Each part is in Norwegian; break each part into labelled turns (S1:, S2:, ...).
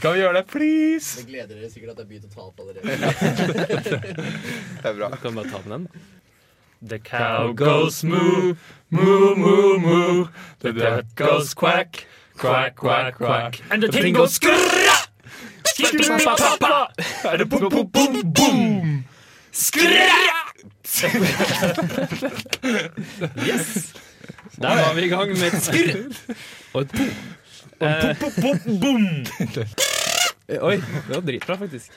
S1: Kan vi gjøre det, please?
S2: Det gleder dere sikkert at jeg begynte å ta opp allerede.
S3: Det er bra.
S4: Du kan bare ta den en, da.
S5: The cow goes moo, moo, moo, moo. The duck goes quack, quack, quack, quack. And the thing goes skrrra! Skippi-pappa! And the boom, boom, boom, boom! Skrrra!
S4: Yes! Der var vi i gang med et skurr. Og et boom. Eh, Oi, det var dritbra, faktisk.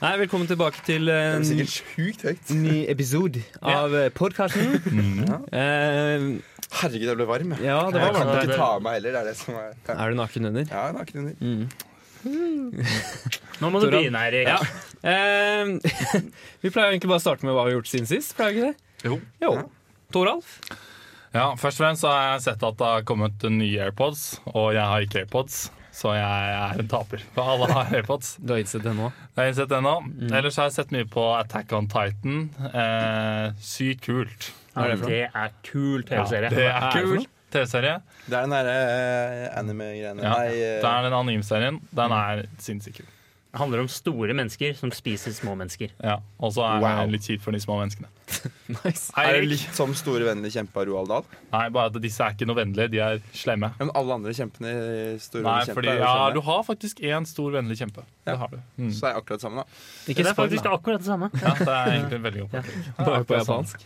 S4: Nei, velkommen tilbake til eh,
S3: Det er sikkert sjukt høyt.
S4: en ny episode av eh, podkasten. Eh,
S3: Herregud, jeg ble varm.
S4: ja, det
S3: Jeg
S4: var
S3: kan
S4: bra.
S3: ikke ta av meg heller. Det er det som er Ja,
S4: Er du naken under?
S3: naken under.
S4: Mm.
S5: Nå må du
S4: Tora.
S5: begynne, Erik.
S4: Ja. Eh, vi pleier egentlig bare å starte med hva vi har gjort siden sist. Pleier vi ikke det?
S1: Jo.
S4: Jo. Toralf?
S1: Ja, Først og fremst så har jeg sett at det har kommet nye AirPods, og jeg har ikke AirPods. Så jeg er en taper. For alle har AirPods.
S4: Du har innsett det nå?
S1: Jeg har ikke sett det ennå.
S3: Mm.
S1: Ellers har jeg sett mye på Attack on Titan. Eh, sykt kult.
S4: er det for noe?
S5: Det er kul TV-serie.
S1: det er kul TV-serie.
S3: Det er den derre eh, anime-greiene.
S1: Ja.
S3: Nei,
S1: Det
S3: eh,
S1: er den anime-serien. Den
S3: Mm.
S1: er sinnssykt kul.
S5: Det handler om store mennesker som spiser små mennesker.
S1: Ja. Og så er
S3: Wow.
S1: det litt kjipt for de små menneskene.
S4: Nice.
S1: Nei,
S3: er det litt som Store venner kjempa Roald Dahl?
S1: Nei, bare at disse er ikke noe vennlige. De er slemme.
S3: Ja, Men alle andre kjempene i Store
S1: Nei,
S3: venner kjempa
S1: fordi
S3: er jo
S1: ja,
S3: slemme.
S1: du har faktisk én stor vennlig kjempe.
S3: Ja.
S1: Det har du. Mm.
S3: Så er det akkurat sammen, da.
S4: Ikke
S5: Det er
S4: spoil,
S5: faktisk
S4: da.
S5: akkurat det samme.
S1: Ja, det er egentlig veldig godt.
S4: Bare på japansk.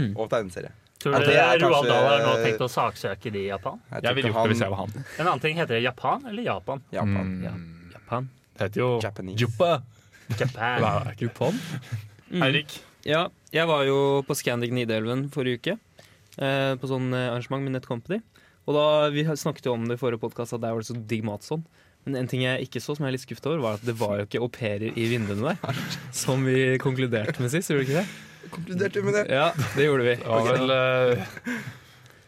S1: Mm.
S3: Og tegneserie.
S5: Tror
S3: Ja,
S5: du
S3: det er
S5: Roald
S3: kanskje-
S5: Dahl har nå tenkt å saksøke de i Japan?
S3: tror
S1: Jeg ville
S3: ikke
S1: gjort det hvis
S3: han-
S1: jeg var han.
S5: En annen ting heter det Japan eller Japan?
S3: Japan.
S1: Mm.
S5: Ja.
S4: Japan.
S1: Det heter jo
S3: Japanese.
S1: Juppa.
S5: Japan.
S1: Nei, det er ikke Japan. Eirik,
S4: Ja, jeg var jo på Scandic Nidelven forrige uke. Eh, på sånn eh, arrangement med Netcompany. Og da, Vi har- snakket jo om det i forrige podkast, at der var det så digg mat sånn. Men en ting jeg ikke så, som jeg er litt skuffet over, var at det var jo ikke au pairer i vinduene der. Som vi konkluderte med sist, gjorde vi ikke det?
S3: Konkluderte med det.
S4: Ja, det gjorde vi.
S1: det var vel eh,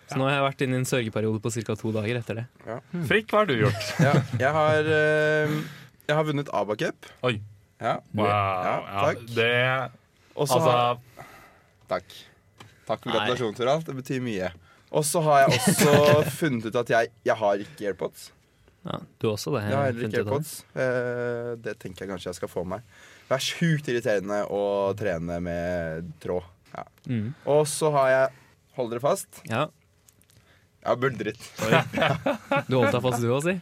S4: Så nå har jeg vært inne i en sørgeperiode på ca. to dager etter det.
S1: Frikk, hva har du gjort?
S3: Ja, jeg har eh, Jeg har vunnet Abacup.
S1: Oi.
S3: Ja.
S1: Wow.
S3: Ja,
S1: Ja,
S3: takk.
S1: det
S3: Og så
S1: Altså,
S3: har Takk. Takk for gratulasjonen, Toralf. Det betyr mye. Og så har jeg også funnet ut at jeg, jeg har ikke AirPods.
S4: Ja, Du også, det.
S3: Jeg har heller ikke
S4: funnet ut av det.
S3: AirPods. Eh, det tenker jeg kanskje jeg skal få meg. Det er sjukt irriterende å trene med tråd. Ja.
S4: Mm.
S3: Og så har jeg Hold dere fast.
S4: Ja,
S3: Jeg har buldret.
S4: Du holdt deg fast, du òg, si.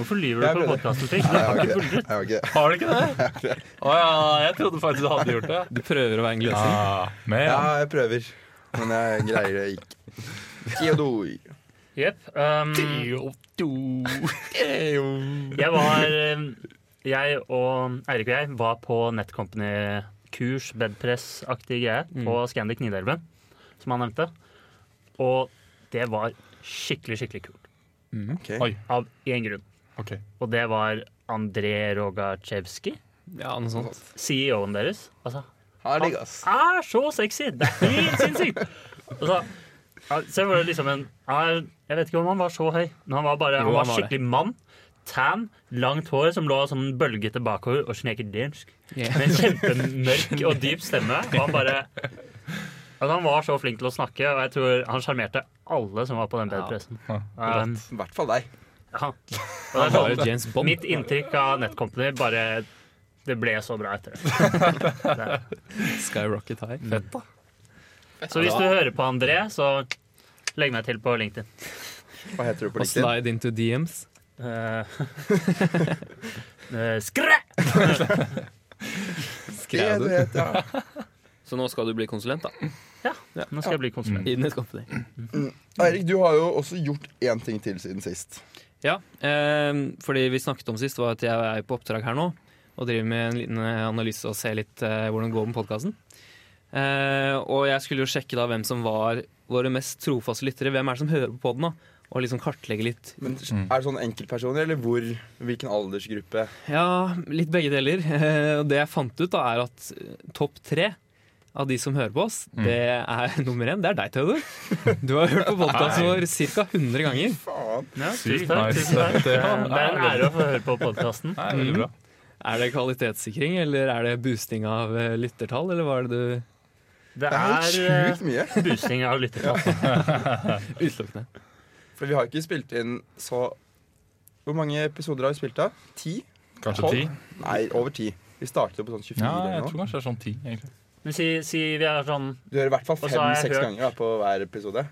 S5: Hvorfor lyver du
S3: Jeg
S5: på
S3: prøvde.
S5: podkasten, Frikk? Du
S3: Nei,
S5: har
S3: jeg har
S5: ikke
S3: ikke
S5: buldret.
S3: Jeg har ikke det.
S1: Har du ikke det? Å ja, jeg trodde faktisk du hadde gjort det.
S4: Du prøver å være en gløsing.
S1: Ja, men
S3: Ja, jeg prøver. Men jeg greier det ikke. Theodor.
S5: Jepp. Um, jeg var um, Jeg og Eirik og jeg var på Netcompany-kurs, bedpress-aktige greier, på Scandic Nidelven, som han nevnte. Og det var skikkelig, skikkelig kult.
S3: Ok.
S1: Oi.
S5: Av én grunn.
S1: OK.
S5: Og det var André Rogatsjevskij,
S4: Ja, noe sånt.
S5: CEO-en deres. Altså,
S3: Han er digg, ass.
S5: er så sexy! Det er helt sinnssykt! Altså, ja, så var det liksom en ja, Jeg vet ikke om han var så høy, men han var bare
S4: Jo,
S5: han var
S4: han var det.
S5: skikkelig mann. Tan, langt hår som lå som en bølgete bakover og sneker dansk.
S4: Yeah.
S5: Med en kjempemørk og dyp stemme. Og han bare altså, Han var så flink til å snakke, og jeg tror han sjarmerte alle som var på den
S4: Ja.
S5: bedpressen.
S1: Ja,
S5: Um,
S3: I hvert fall deg.
S5: ja. Og det er
S4: Han var
S5: sånn-
S4: jo James Bond.
S5: Mitt inntrykk av Netcompany bare Det ble så bra etter det.
S4: Skyrocket high.
S5: Mm.
S4: Fett, da.
S5: Så hvis du hører på André, så legg meg til på LinkedIn.
S3: Hva heter du på
S4: Og
S3: LinkedIn?
S4: slide into DMs.
S5: Eh, eh, Skræ!
S3: Det
S4: Skrev
S3: du
S4: du.
S3: heter, ja.
S4: Så nå skal du bli konsulent, da?
S5: Nå skal jeg bli konsulent.
S4: I Net Company.
S3: Eirik, du har jo også gjort én ting til siden sist.
S4: Ja, eh, fordi vi snakket om sist, var at jeg er på oppdrag her nå. Og driver med en liten eh, analyse og ser litt eh, hvordan det går med podkasten. Eh, og jeg skulle jo sjekke da hvem som var våre mest trofaste lyttere. Hvem er det som hører på den, da? Og liksom kartlegge litt.
S3: Men Er det sånn enkeltpersoner, eller hvor? Hvilken aldersgruppe?
S4: Ja, litt begge deler. Eh, og det jeg fant ut, da, er at eh, topp tre av de som hører på oss, det er nummer én. Det er deg, Theodor. Du har hørt på podkasten vår ca. 100 ganger.
S3: Faen.
S5: Ja,
S1: Sykt
S5: tusen takk.
S1: nice.
S5: Tusen takk.
S1: Det
S5: Det er
S1: er-
S5: en ære å få høre på podkasten.
S1: Nei, veldig bra.
S4: Er det kvalitetssikring, eller er det boosting av eh, lyttertall, eller hva er det du
S5: Det
S3: Det er helt
S5: er
S3: sjukt mye.
S5: eh, boosting av lyttertall.
S4: Utelukkende.
S3: For vi har ikke spilt inn så Hvor mange episoder har vi spilt av? Ti?
S1: Kanskje
S3: Tolv?
S1: ti?
S3: Nei, over ti. Vi startet på sånn 24
S1: Ja, jeg
S3: eller
S1: tror
S3: noe.
S1: kanskje det er sånn ti. egentlig.
S5: Men si, si vi er sånn
S3: Du hører i hvert fall
S5: Og så har jeg
S3: fem-seks
S5: hørt-
S3: ganger da, på hver episode.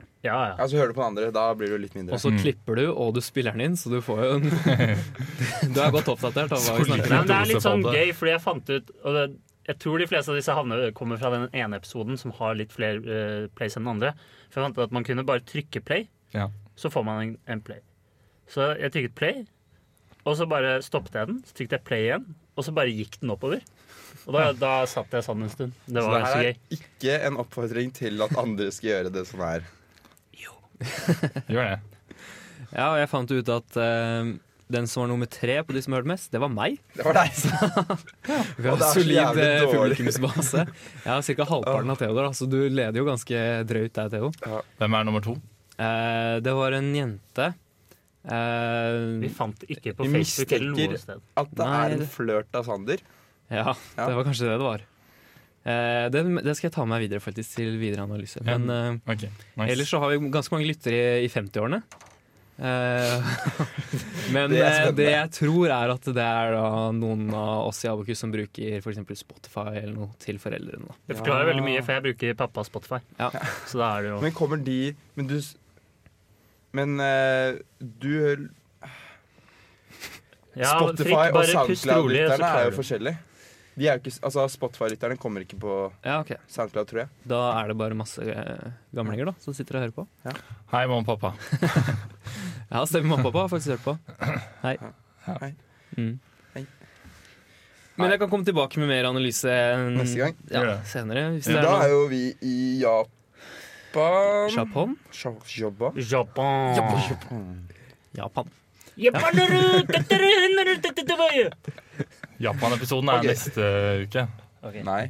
S5: Ja, ja.
S3: Ja, Så hører du på den andre. Da blir det jo litt mindre.
S4: Og så
S1: Mm.
S4: klipper du, og du spiller den inn, så du får jo en Du er godt oppdatert av hva vi
S1: Solid.
S4: snakker
S5: Nei,
S4: om.
S5: men det er litt sånn
S1: Dose på det.
S5: gøy, fordi jeg fant ut og det, Jeg tror de fleste av disse havner kommer fra den ene episoden som har litt flere eh, plays enn den andre. For jeg fant ut at man kunne bare trykke play,
S1: Ja.
S5: så får man en, en play. Så jeg trykket play, og så bare stoppet jeg den. Så trykket jeg play igjen, og så bare gikk den oppover. Og da, da satt jeg sånn en stund. Det
S3: Så
S5: var
S3: det
S5: ganske
S3: her
S5: gøy.
S3: er ikke en oppfordring til at andre skal gjøre det som er.
S1: Gjør det.
S4: Ja, og jeg fant ut at eh, den som var nummer tre på de som hørte mest, det var meg.
S3: Det var deg som
S4: Vi har
S3: Og det er så
S4: solid
S3: jævlig
S4: eh,
S3: dårlig.
S4: publikumsbase. Jeg har ca. halvparten av Theodor, da, så du leder jo ganske drøyt der, Theo.
S1: Hvem er nummer to?
S4: Eh, det var en jente
S5: Vi
S4: eh,
S5: fant det ikke på
S3: Vi
S5: Facebook eller
S3: mistenker-
S5: noe sted.
S3: At det
S4: Nei,
S3: er en
S4: det-
S3: flørt av Sander.
S4: Ja,
S3: Ja.
S4: det var kanskje det det var. Eh, det, det skal jeg ta med meg videre, faktisk, til videre analyse.
S1: Ja.
S4: Men eh,
S1: Ok, nice.
S4: Ellers så har vi ganske mange lyttere i, i 50-årene. Eh, men
S3: Det er
S4: eh,
S3: spennende.
S4: det jeg tror er at det er da noen av oss i Abokus som bruker f.eks. Spotify eller noe til foreldrene. Da.
S5: Det forklarer veldig mye, for jeg bruker pappas Spotify.
S4: Ja.
S5: Så da er det jo
S3: Men kommer de Men du s- Men eh, du
S5: ja,
S3: Spotify
S5: trykk bare
S3: og
S5: pust rolig, så
S3: SoundCloud-lytterne er
S5: klarer
S3: jo
S5: du.
S3: forskjellige. De er jo ikke, altså Spotify-lytterne kommer ikke på
S4: Ja, ok.
S3: SoundCloud, tror jeg.
S4: Da er det bare masse eh, gamlinger da, som sitter og hører på.
S1: Hei, mamma og pappa.
S4: Ja, stemmer mamma og pappa har faktisk hørt på. Hei.
S3: Hei.
S4: Mm.
S3: Hei.
S4: Men jeg kan komme tilbake med mer analyse en-
S3: Neste gang.
S1: Gjør
S4: Ja,
S1: det.
S4: senere. Hvis det
S3: Da
S4: er
S3: er
S4: noe.
S3: jo vi i Japan.
S4: Japan?
S3: Jobba.
S5: Japan.
S4: Japan.
S1: Japan-episoden er
S3: Ok.
S1: neste uke.
S5: Ok.
S3: Nei.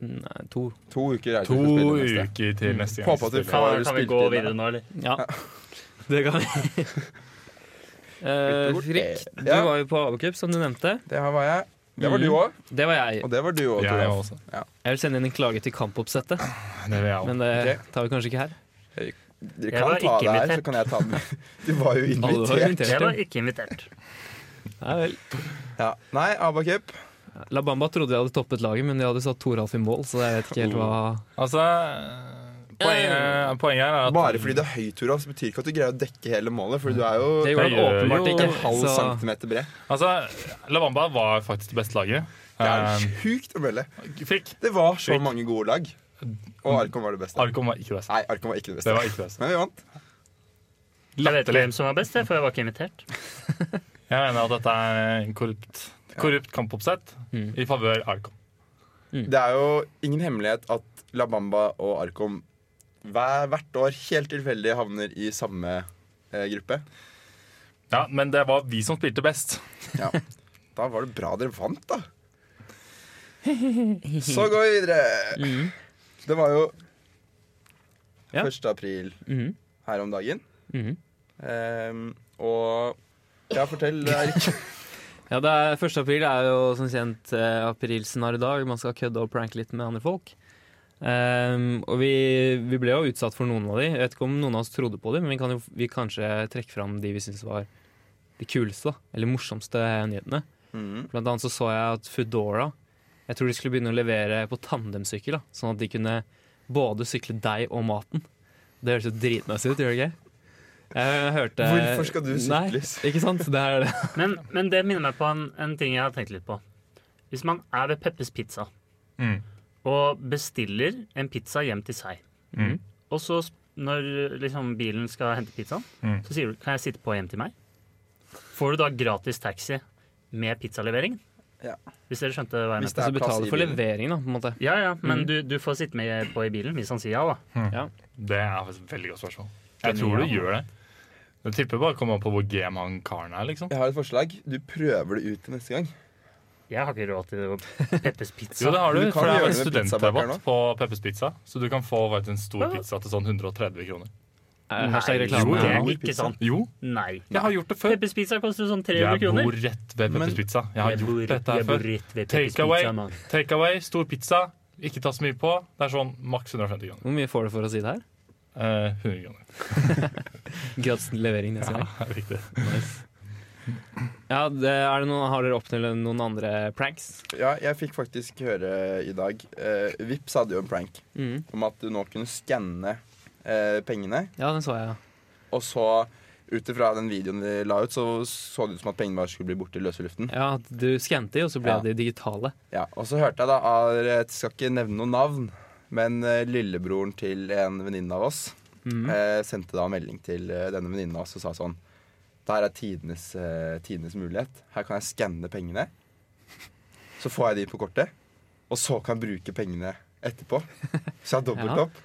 S4: Mm, Nei, to.
S3: To uker er det
S1: To
S3: til å spille neste. Mm.
S1: uker til neste gang.
S3: Håper at du
S1: spiller.
S5: Kan,
S3: får
S5: kan vi
S3: spilt
S5: gå
S3: inn
S5: videre
S3: det.
S5: nå, eller?
S4: Ja, det kan vi. Eh,
S3: Gjort.
S4: Frikk, du
S3: Ja.
S4: var jo på Abocup, som du nevnte.
S3: Det her var jeg. Det var du
S4: Mm.
S3: òg.
S4: Det var jeg.
S3: Og det var du òg,
S1: Jeg
S3: Toralf.
S1: også.
S4: Jeg vil sende inn en klage til kampoppsettet,
S1: Det vil jeg også.
S4: men det tar vi kanskje ikke her.
S3: Dere
S5: Jeg
S3: kan
S5: var
S3: ta
S5: ikke
S3: det her, så
S5: invitert.
S3: kan jeg ta det med. Du var jo
S4: Alle var
S3: invitert.
S5: Jeg
S4: invitert.
S5: var
S4: ja.
S5: ikke invitert.
S4: Ja, vel.
S3: Ja. Nei, Abacup.
S4: La Bamba trodde jeg hadde toppet laget, men de hadde satt Toralf i mål, så jeg vet ikke helt hva
S3: Oh.
S1: Altså, poenget, poenget her er at
S3: Eh, Bare fordi det er høy, Toralf, så betyr ikke at du greier å dekke hele målet. For du er jo
S4: Det gjorde han
S1: gjør
S4: åpenbart
S1: jo-
S4: ikke.
S3: en halv
S4: Så
S3: centimeter bred.
S1: Altså, Lavamba var faktisk det beste laget.
S3: Det er
S1: Eh,
S3: sjukt å melde.
S1: Frikk.
S3: Det var så
S1: Sjukt.
S3: mange gode lag. Og Arkon var det beste.
S1: Arkom var ikke best.
S3: Nei, Arkon var ikke
S1: Det
S3: det beste.
S1: var ikke best.
S3: Men vi vant.
S5: Jeg vet ikke hvem som var best, jeg, for jeg var ikke invitert.
S1: Jeg mener at dette er en korrupt, korrupt kampoppsett
S4: Mm.
S1: i favør Arkom.
S3: Det er jo ingen hemmelighet at La Bamba og Arkom hver, hvert år helt tilfeldig havner i samme eh, gruppe.
S1: Ja, men det var vi som spilte best.
S3: Ja. Da var det bra dere vant, da. Så går vi videre.
S4: Mhm.
S3: Det var jo
S4: Ja.
S3: 1. april
S4: Mhm.
S3: her om dagen.
S4: Mhm.
S3: Ehm, og Ja, fortell, Erik.
S4: Ja, det er, 1. april er jo som kjent eh, aprilsnarr dag. Man skal kødde og pranke litt med andre folk. Ehm, og vi, vi ble jo utsatt for noen av de. Jeg vet ikke om noen av oss trodde på de, men vi kan jo vi kanskje trekke fram de vi syntes var de kuleste, da. Eller morsomste nyhetene.
S3: Mhm.
S4: Blant annet så så jeg at Foodora Jeg tror de skulle begynne å levere på tandemsykkel, da. Sånn at de kunne både sykle deg og maten. Det høres jo dritnice ut, gjør det ikke? Jeg hørte
S3: Hvorfor skal du
S4: Nei,
S3: sykles?
S4: ikke sant? Det er det.
S5: Men, men det minner meg på en, en ting jeg har tenkt litt på. Hvis man er ved Peppes Pizza
S1: Mm.
S5: og bestiller en pizza hjem til seg,
S1: Mm.
S5: og så sp- når liksom, bilen skal hente pizzaen,
S1: Mm.
S5: så sier du 'kan jeg sitte på hjem til meg'? Får du da gratis taxi med pizzalevering?
S3: Ja.
S5: Hvis dere skjønte hva jeg
S3: Hvis
S5: mente?
S3: det
S4: Så
S3: er plass
S4: betaler
S3: i
S4: for
S3: bilen.
S4: leveringen, da, på en måte.
S5: Ja, ja, men
S1: Mhm.
S4: Mm.
S5: du, du får sitte med på i bilen hvis han sier ja, da.
S1: Det er faktisk et veldig godt spørsmål. Jeg tror du gjør det. Jeg tipper bare kommer an på hvor gem han karen er, liksom.
S3: Jeg har et forslag. Du prøver det ut til neste gang.
S5: Jeg har ikke råd til Peppers Pizza.
S1: Jo, det har du,
S3: Du kan
S1: for det er
S3: gjøre det med pizzabakeren
S1: studentrabatt
S3: også.
S1: på Peppers Pizza. Så du kan få vet, du, en stor pizza til sånn 130 kroner.
S4: Eh, Hashtag reklame.
S5: Jo, det
S4: ja.
S5: er ikke sant.
S1: Jo,
S5: Nei.
S1: jeg har gjort det før.
S5: Peppers Pizza koster sånn 300
S1: Jeg
S5: kroner.
S1: bor rett ved Peppers
S3: Men-
S1: Pizza. Jeg har
S5: bor-
S1: gjort dette
S5: jeg
S1: her
S5: bor
S1: før.
S5: rett ved
S1: Take
S5: Peppers Pizza,
S1: away.
S5: mann.
S1: Take away, stor pizza, ikke ta så mye på. Det er sånn maks 150 kroner.
S4: Hvor mye får du for å si det her?
S1: Eh, 100 kroner.
S4: Gratis levering neste gang.
S1: Ja, riktig.
S4: Ja, det, er det noen, har dere oppnådd noen andre pranks?
S3: Ja, jeg fikk faktisk høre i dag eh, Vips hadde jo en prank
S4: Mm.
S3: om at du nå kunne skanne eh, pengene.
S4: Ja, den så jeg.
S3: Og så, ut ifra den videoen de la ut, så så det ut som at pengene bare skulle bli borte i løse luften.
S4: Ja, Du skante de, og så ble
S3: Ja.
S4: de digitale.
S3: Ja, og så hørte jeg da av Jeg skal ikke nevne noe navn, men eh, lillebroren til en venninne av oss
S4: Mm.
S3: eh, sendte da en melding til eh, denne venninnen av oss og sa sånn Det her er tidenes, eh, tidenes mulighet. Her kan jeg skanne pengene. Så får jeg de på kortet, og så kan jeg bruke pengene etterpå. Så jeg har dobbelt
S4: Ja.
S3: opp.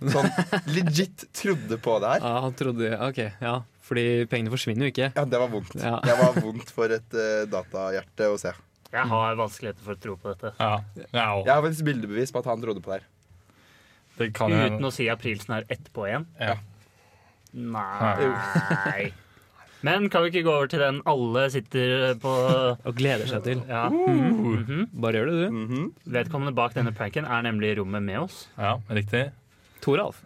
S3: Sånn legit trodde på det her.
S4: Ja, han trodde Ok, ja. Fordi pengene forsvinner jo ikke.
S3: Ja, det var vondt.
S4: Ja.
S3: Det var vondt for et eh, datahjerte å se.
S5: Jeg har vanskeligheter for å tro på dette.
S1: Ja, ja, og
S3: Jeg har faktisk bildebevis på at han trodde på det her.
S1: det kan jo
S5: Uten å si aprilsen er ett på én.
S1: ja.
S5: Nei. Men kan vi ikke gå over til den alle sitter på
S4: Og gleder seg til.
S5: ja. Mhm.
S4: Bare gjør det, du.
S3: Mhm.
S5: Vedkommende bak denne pranken er nemlig i rommet med oss.
S1: ja, riktig.
S4: Toralf.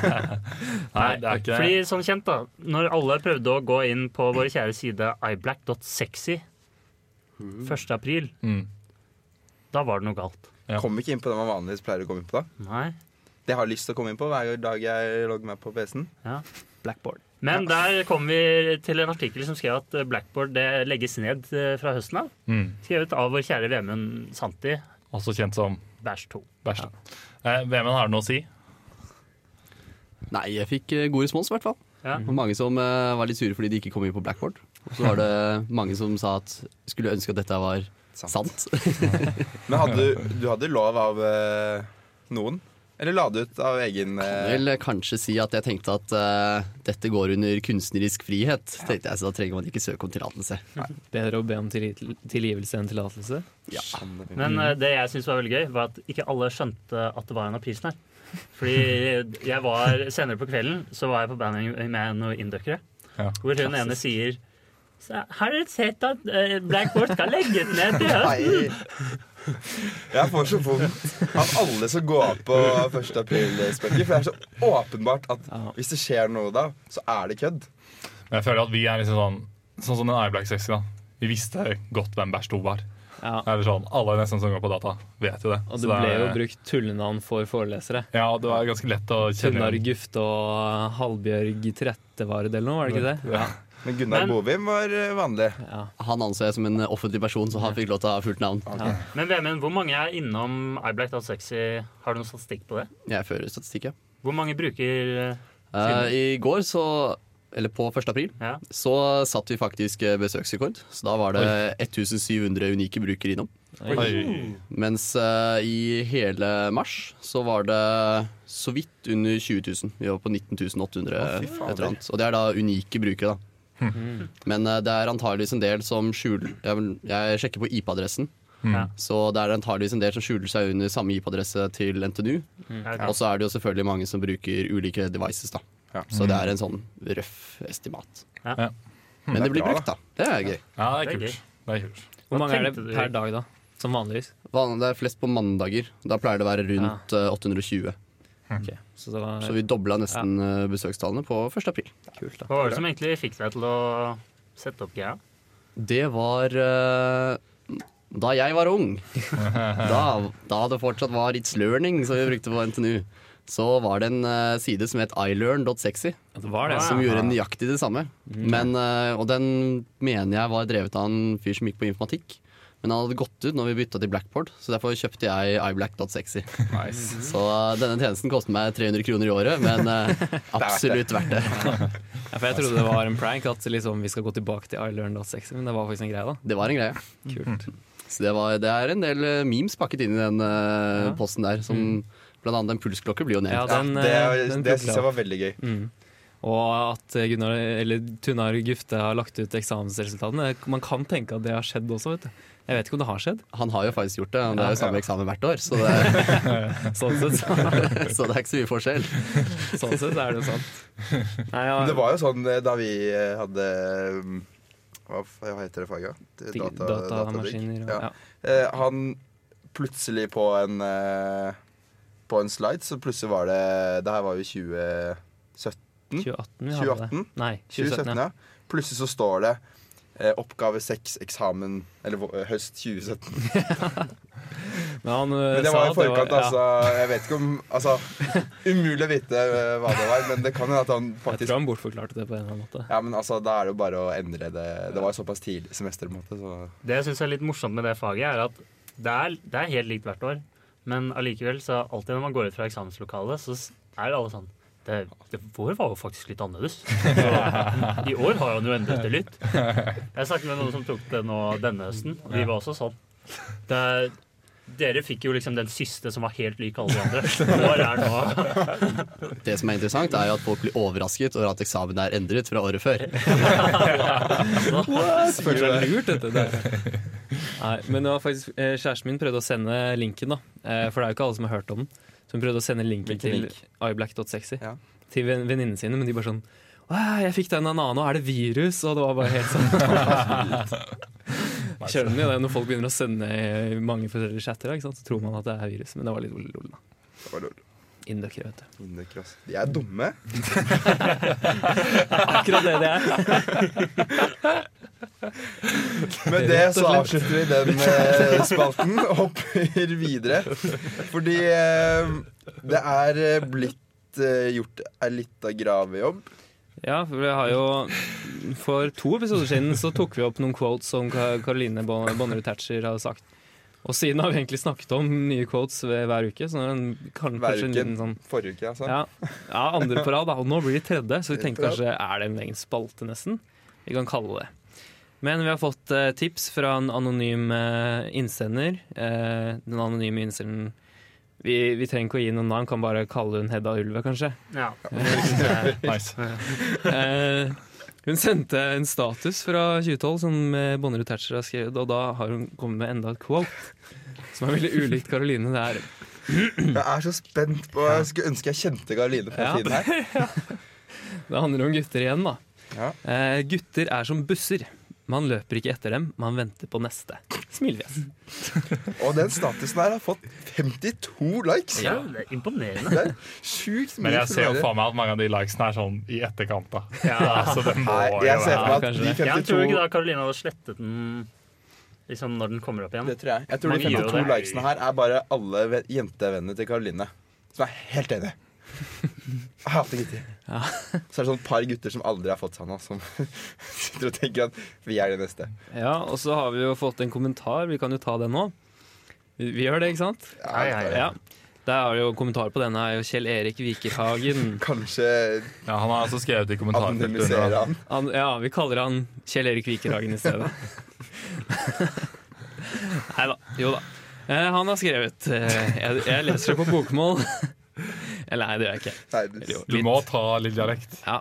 S1: Nei, det er ikke det.
S5: Fordi som kjent da, Når alle prøvde å gå inn på vår kjære side iblack.sexy 1. april,
S1: Mm.
S5: da var det noe galt.
S1: Ja.
S3: Kom ikke inn på det man vanligvis pleier å komme inn på. da
S5: Nei.
S3: Det jeg har lyst til å komme inn på hver dag jeg logger meg på PC-en.
S5: Ja.
S4: Blackboard.
S5: Men der kom vi til en artikkel som skrev at Blackboard det legges ned eh, fra høsten av.
S1: Mm.
S5: Skrevet av vår kjære Vemund Santi,
S1: Også kjent som
S5: bæsj 2.
S1: bæsj. Eh, Vemund, har du noe å si?
S6: Nei, jeg fikk eh, god respons, i hvert fall.
S5: Ja.
S6: Det var Mange som eh, var litt sure fordi de ikke kom inn på blackboard. Og så var det mange som sa at skulle ønske at dette var
S3: Sant.
S6: sant.
S3: Men hadde du, du hadde lov av eh, noen? Eller la du ut av egen eh,
S6: Vel, kanskje si at jeg tenkte at eh, dette går under kunstnerisk frihet. Tenkte jeg, Så da trenger man ikke søke om tillatelse.
S4: Bedre å be om tilgi- tilgivelse enn tillatelse.
S6: Ja.
S5: Men eh, det jeg syns var veldig gøy, var at ikke alle skjønte at det var en av prisen her. Fordi jeg var, senere på kvelden så var jeg på banding med noen indøkere.
S1: Ja.
S5: Hvor hun ene sier «Så Har dere sett at eh, Blackboard skal legges ned til høsten?
S3: Jeg får så vondt av alle som går på 1. april-spøker. For det er så åpenbart at
S4: Ja.
S3: hvis det skjer noe da, så er det kødd.
S1: Men jeg føler at vi er liksom sånn Sånn som den iBlack 60 da. Vi visste godt hvem bæsj 2 var.
S4: Ja.
S1: Eller sånn, Alle nesten som går på data, vet jo det.
S4: Og det
S1: Så
S4: ble
S1: er-
S4: jo brukt tullenavn for forelesere.
S1: Ja, og det var ganske lett å kjenne
S4: Gunnar Gufte og Halbjørg Trettevard eller noe, var det ikke det?
S1: Ja.
S3: Men Gunnar
S5: Men-
S3: Bovim var eh, vanlig.
S4: Ja.
S6: Han anså jeg som en offentlig person, så han fikk lov til å ha fullt navn.
S5: Men Vemund, hvor mange er innom iBlack.sexy? Har du noen statistikk på det?
S6: Jeg fører statistikk, ja.
S5: Hvor mange bruker eh,
S6: Eh, I går så eller på 1. april
S5: ja.
S6: så satt vi faktisk eh, besøksrekord. Så da var det 1700 unike brukere innom.
S1: Oi.
S6: Mens eh, i hele mars så var det så vidt under 20 000. Vi var på 19 800
S3: Å, fy
S6: et
S3: fader.
S6: eller annet. Og det er da unike brukere, da. Men eh, det er antageligvis en del som skjuler Jeg, vil- jeg sjekker på IP-adressen.
S5: Ja.
S6: Så det er antageligvis en del som skjuler seg under samme IP-adresse til NTNU.
S5: Ja.
S6: Og så er det jo selvfølgelig mange som bruker ulike devices, da.
S3: Ja.
S6: Så det er en sånn røff estimat.
S5: Ja.
S1: Ja.
S6: Men
S3: Det er
S6: det blir
S3: bra,
S6: brukt, da. Det er gøy.
S1: ja, det
S5: Det
S1: er
S5: er
S1: kult. Det er kult.
S4: Hvor mange er
S5: tenkte
S4: det
S5: du?
S4: per dag, da? Som vanligvis.
S6: Van- Det er flest på mandager. Da pleier det å være rundt eh, 820.
S4: Ok, Mm. Så det var
S6: Så vi dobla nesten eh, besøkstallene på 1. april.
S4: kult, da.
S5: Hva var det som egentlig fikk deg til å sette opp greia?
S6: Det var eh, da jeg var ung. Da, da det fortsatt var It's Learning, som vi brukte på NTNU. Så var det en eh, side som het iLearn.sexy,
S4: Ja, det var det.
S6: som
S5: Ah.
S6: gjorde nøyaktig det samme. Men, eh, og den mener jeg var drevet av en fyr som gikk på informatikk. Men han hadde gått ut når vi bytta til Blackboard, så derfor kjøpte jeg iBlack.sexy. Så eh, denne tjenesten kostet meg 300 kroner i året, men eh, absolutt verdt det.
S4: Ja, for jeg trodde det var en prank at liksom, vi skal gå tilbake til iLearn.sexy, men det var faktisk en greie, da.
S6: Det var en greie.
S4: Kult.
S6: Så det, var, det er en del eh, memes pakket inn i den eh,
S4: Ja. Mm.
S6: posten der. Som blant annet den pulsklokke blir jo
S4: Ja,
S6: nevnt.
S4: den,
S3: det
S4: eh, den
S3: det
S4: tok
S3: syns
S4: jeg
S3: jeg
S4: opp.
S3: var veldig gøy.
S4: Mm. Og at eh, Gunnar, eller Tunar Gufte har lagt ut eksamensresultatene. Man kan tenke at det har skjedd også, vet du. Jeg vet ikke om det har skjedd.
S6: Han har jo faktisk gjort det. og Det
S4: Ja.
S6: er jo samme eksamen hvert år, så det,
S4: Sånn sett, så,
S6: så det er ikke så mye forskjell.
S4: sånn sett er det jo sant. Nei, ja,
S3: Men det var jo sånn eh, da vi eh, hadde mm, Hva f- hva heter det faget?
S4: ting- datamaskiner og
S3: Ja.
S4: ja.
S3: Eh, han plutselig på en eh, på en slide, så plutselig var det Det her var jo 2017.
S4: 2018 vi hadde det.
S3: 2018?
S4: Nei, 2017,
S3: 2017,
S4: ja.
S3: Mm. ja. Plutselig så står det eh, oppgave 6, eksamen Eller vå- høst 2017.
S4: Men, han, eh,
S3: Men det
S4: sa
S3: var i
S4: at
S3: forkant,
S4: ja.
S3: altså. Jeg vet ikke om Altså, umulig å vite eh, hva det var, men det kan hende at han
S4: Jeg
S3: faktisk
S4: tror han bortforklarte det på en eller annen måte.
S3: ja, men altså, Da er det jo bare å endre det. Det var jo såpass tidlig semester. på en måte, så
S5: Det jeg syns er litt morsomt med det faget, er at det er, det er helt likt hvert år. Men allikevel, så alltid når man går ut fra eksamenslokalet, så s- er alle sånn det, det, Vår var jo faktisk litt annerledes. Så, I år har han jo endret det litt. Jeg snakket med noen som tok det nå denne høsten, og de var også sånn. Det, er- dere fikk jo liksom den siste som var helt lik alle de andre. Vår er nå
S6: Det som er interessant, er jo at folk blir overrasket over at eksamen er endret fra året før.
S4: Føler det er lurt, dette. Der. Nei, men det var faktisk, eh, kjæresten min prøvde å sende linken, da. Eh, for det er jo ikke alle som har hørt om den. Så hun prøvde å sende linken
S6: Hvilken
S4: til
S6: link?
S4: iblack.sexy
S3: Ja.
S4: til ven- venninnene sine, men de bare sånn «Åh, jeg fikk den av en annen, og er det virus? Og det var bare helt sånn Kjører den i det når folk begynner å sende i mange forskjellige chatter, da, ikke sant? så tror man at det er virus. Men det var litt lol, da.
S3: det var lol.
S4: Indokere, vet du.
S3: Innekross. De er dumme.
S4: Akkurat det det er.
S3: Med det så avslutter vi den eh, spalten og hopper videre. Fordi eh, det er eh, blitt eh, gjort ei lita gravejobb.
S4: Ja, for vi har jo For to episoder siden så tok vi opp noen quotes som Ka- Caroline Bon- Bonnerud Thatcher hadde sagt. Og siden har vi egentlig snakket om nye quotes ved- hver uke, så nå er det en- kan,
S3: Hver
S4: kanskje en
S3: uke.
S4: liten sånn
S3: Forrige uke, altså.
S4: ja, ja, andre på rad, da. Og nå blir det tredje, så vi tenkte
S3: Tredje på
S4: kanskje er det en egen spalte, nesten. Vi kan kalle det. Men vi har fått eh, tips fra en anonym eh, innsender. Eh, den anonyme innsenderen vi, vi trenger ikke å gi noen navn, kan bare kalle hun Hedda Ulve, kanskje.
S5: ja.
S1: Nice.
S4: Eh, hun sendte en status fra 2012 som eh, Bonnerud Thatcher har skrevet, og da har hun kommet med enda et quote. Som er veldig ulikt Karoline. Det er
S3: Jeg er så spent på Jeg skulle ønske jeg kjente Karoline på
S4: Ja.
S3: tiden her.
S4: Det handler om gutter igjen, da.
S3: Ja.
S4: Eh, gutter er som busser. Man løper ikke etter dem, man venter på neste. Smilefjes.
S3: Og den statusen her har fått 52 likes!
S5: ja, det er imponerende.
S3: Det er sjukt mye
S1: Men jeg ser jo
S3: følgere.
S1: faen meg at mange av de likesene er sånn i etterkant, da.
S5: Ja.
S1: Så det må
S3: Nei,
S1: jo
S3: jeg ser
S1: være
S3: for meg
S4: Ja,
S3: at
S4: kanskje
S3: de
S4: det.
S5: Jeg tror ikke
S3: 52
S5: da Karoline hadde slettet den liksom når den kommer opp igjen.
S3: Det tror jeg. Jeg tror de
S5: Man gjør
S3: 52
S5: det.
S3: likesene her er bare alle ve- jentevennene til Karoline. Som er helt enig. Jeg hater gutter.
S4: Ja.
S3: Så er det sånn et par gutter som aldri har fått seg noe, som sitter og tenker at vi er de neste.
S4: Ja, og så har vi jo fått en kommentar, vi kan jo ta den nå. Vi, vi gjør det, ikke sant?
S5: Ja, ja,
S3: det er-
S4: Ja. Der har vi jo kommentar på denne, er jo Kjell Erik Vikerhagen.
S3: Kanskje
S1: Ja, han har altså skrevet i kommentarfeltet
S3: anonymisere
S1: under. da.
S3: han.
S4: Han, ja, vi kaller han Kjell Erik Vikerhagen i stedet. Nei da. Jo da. Eh, han har skrevet eh, jeg, jeg leser det på bokmål. Eller nei, det gjør jeg ikke.
S3: Nei, det-
S1: Du må ta litt dialekt.
S4: Ja.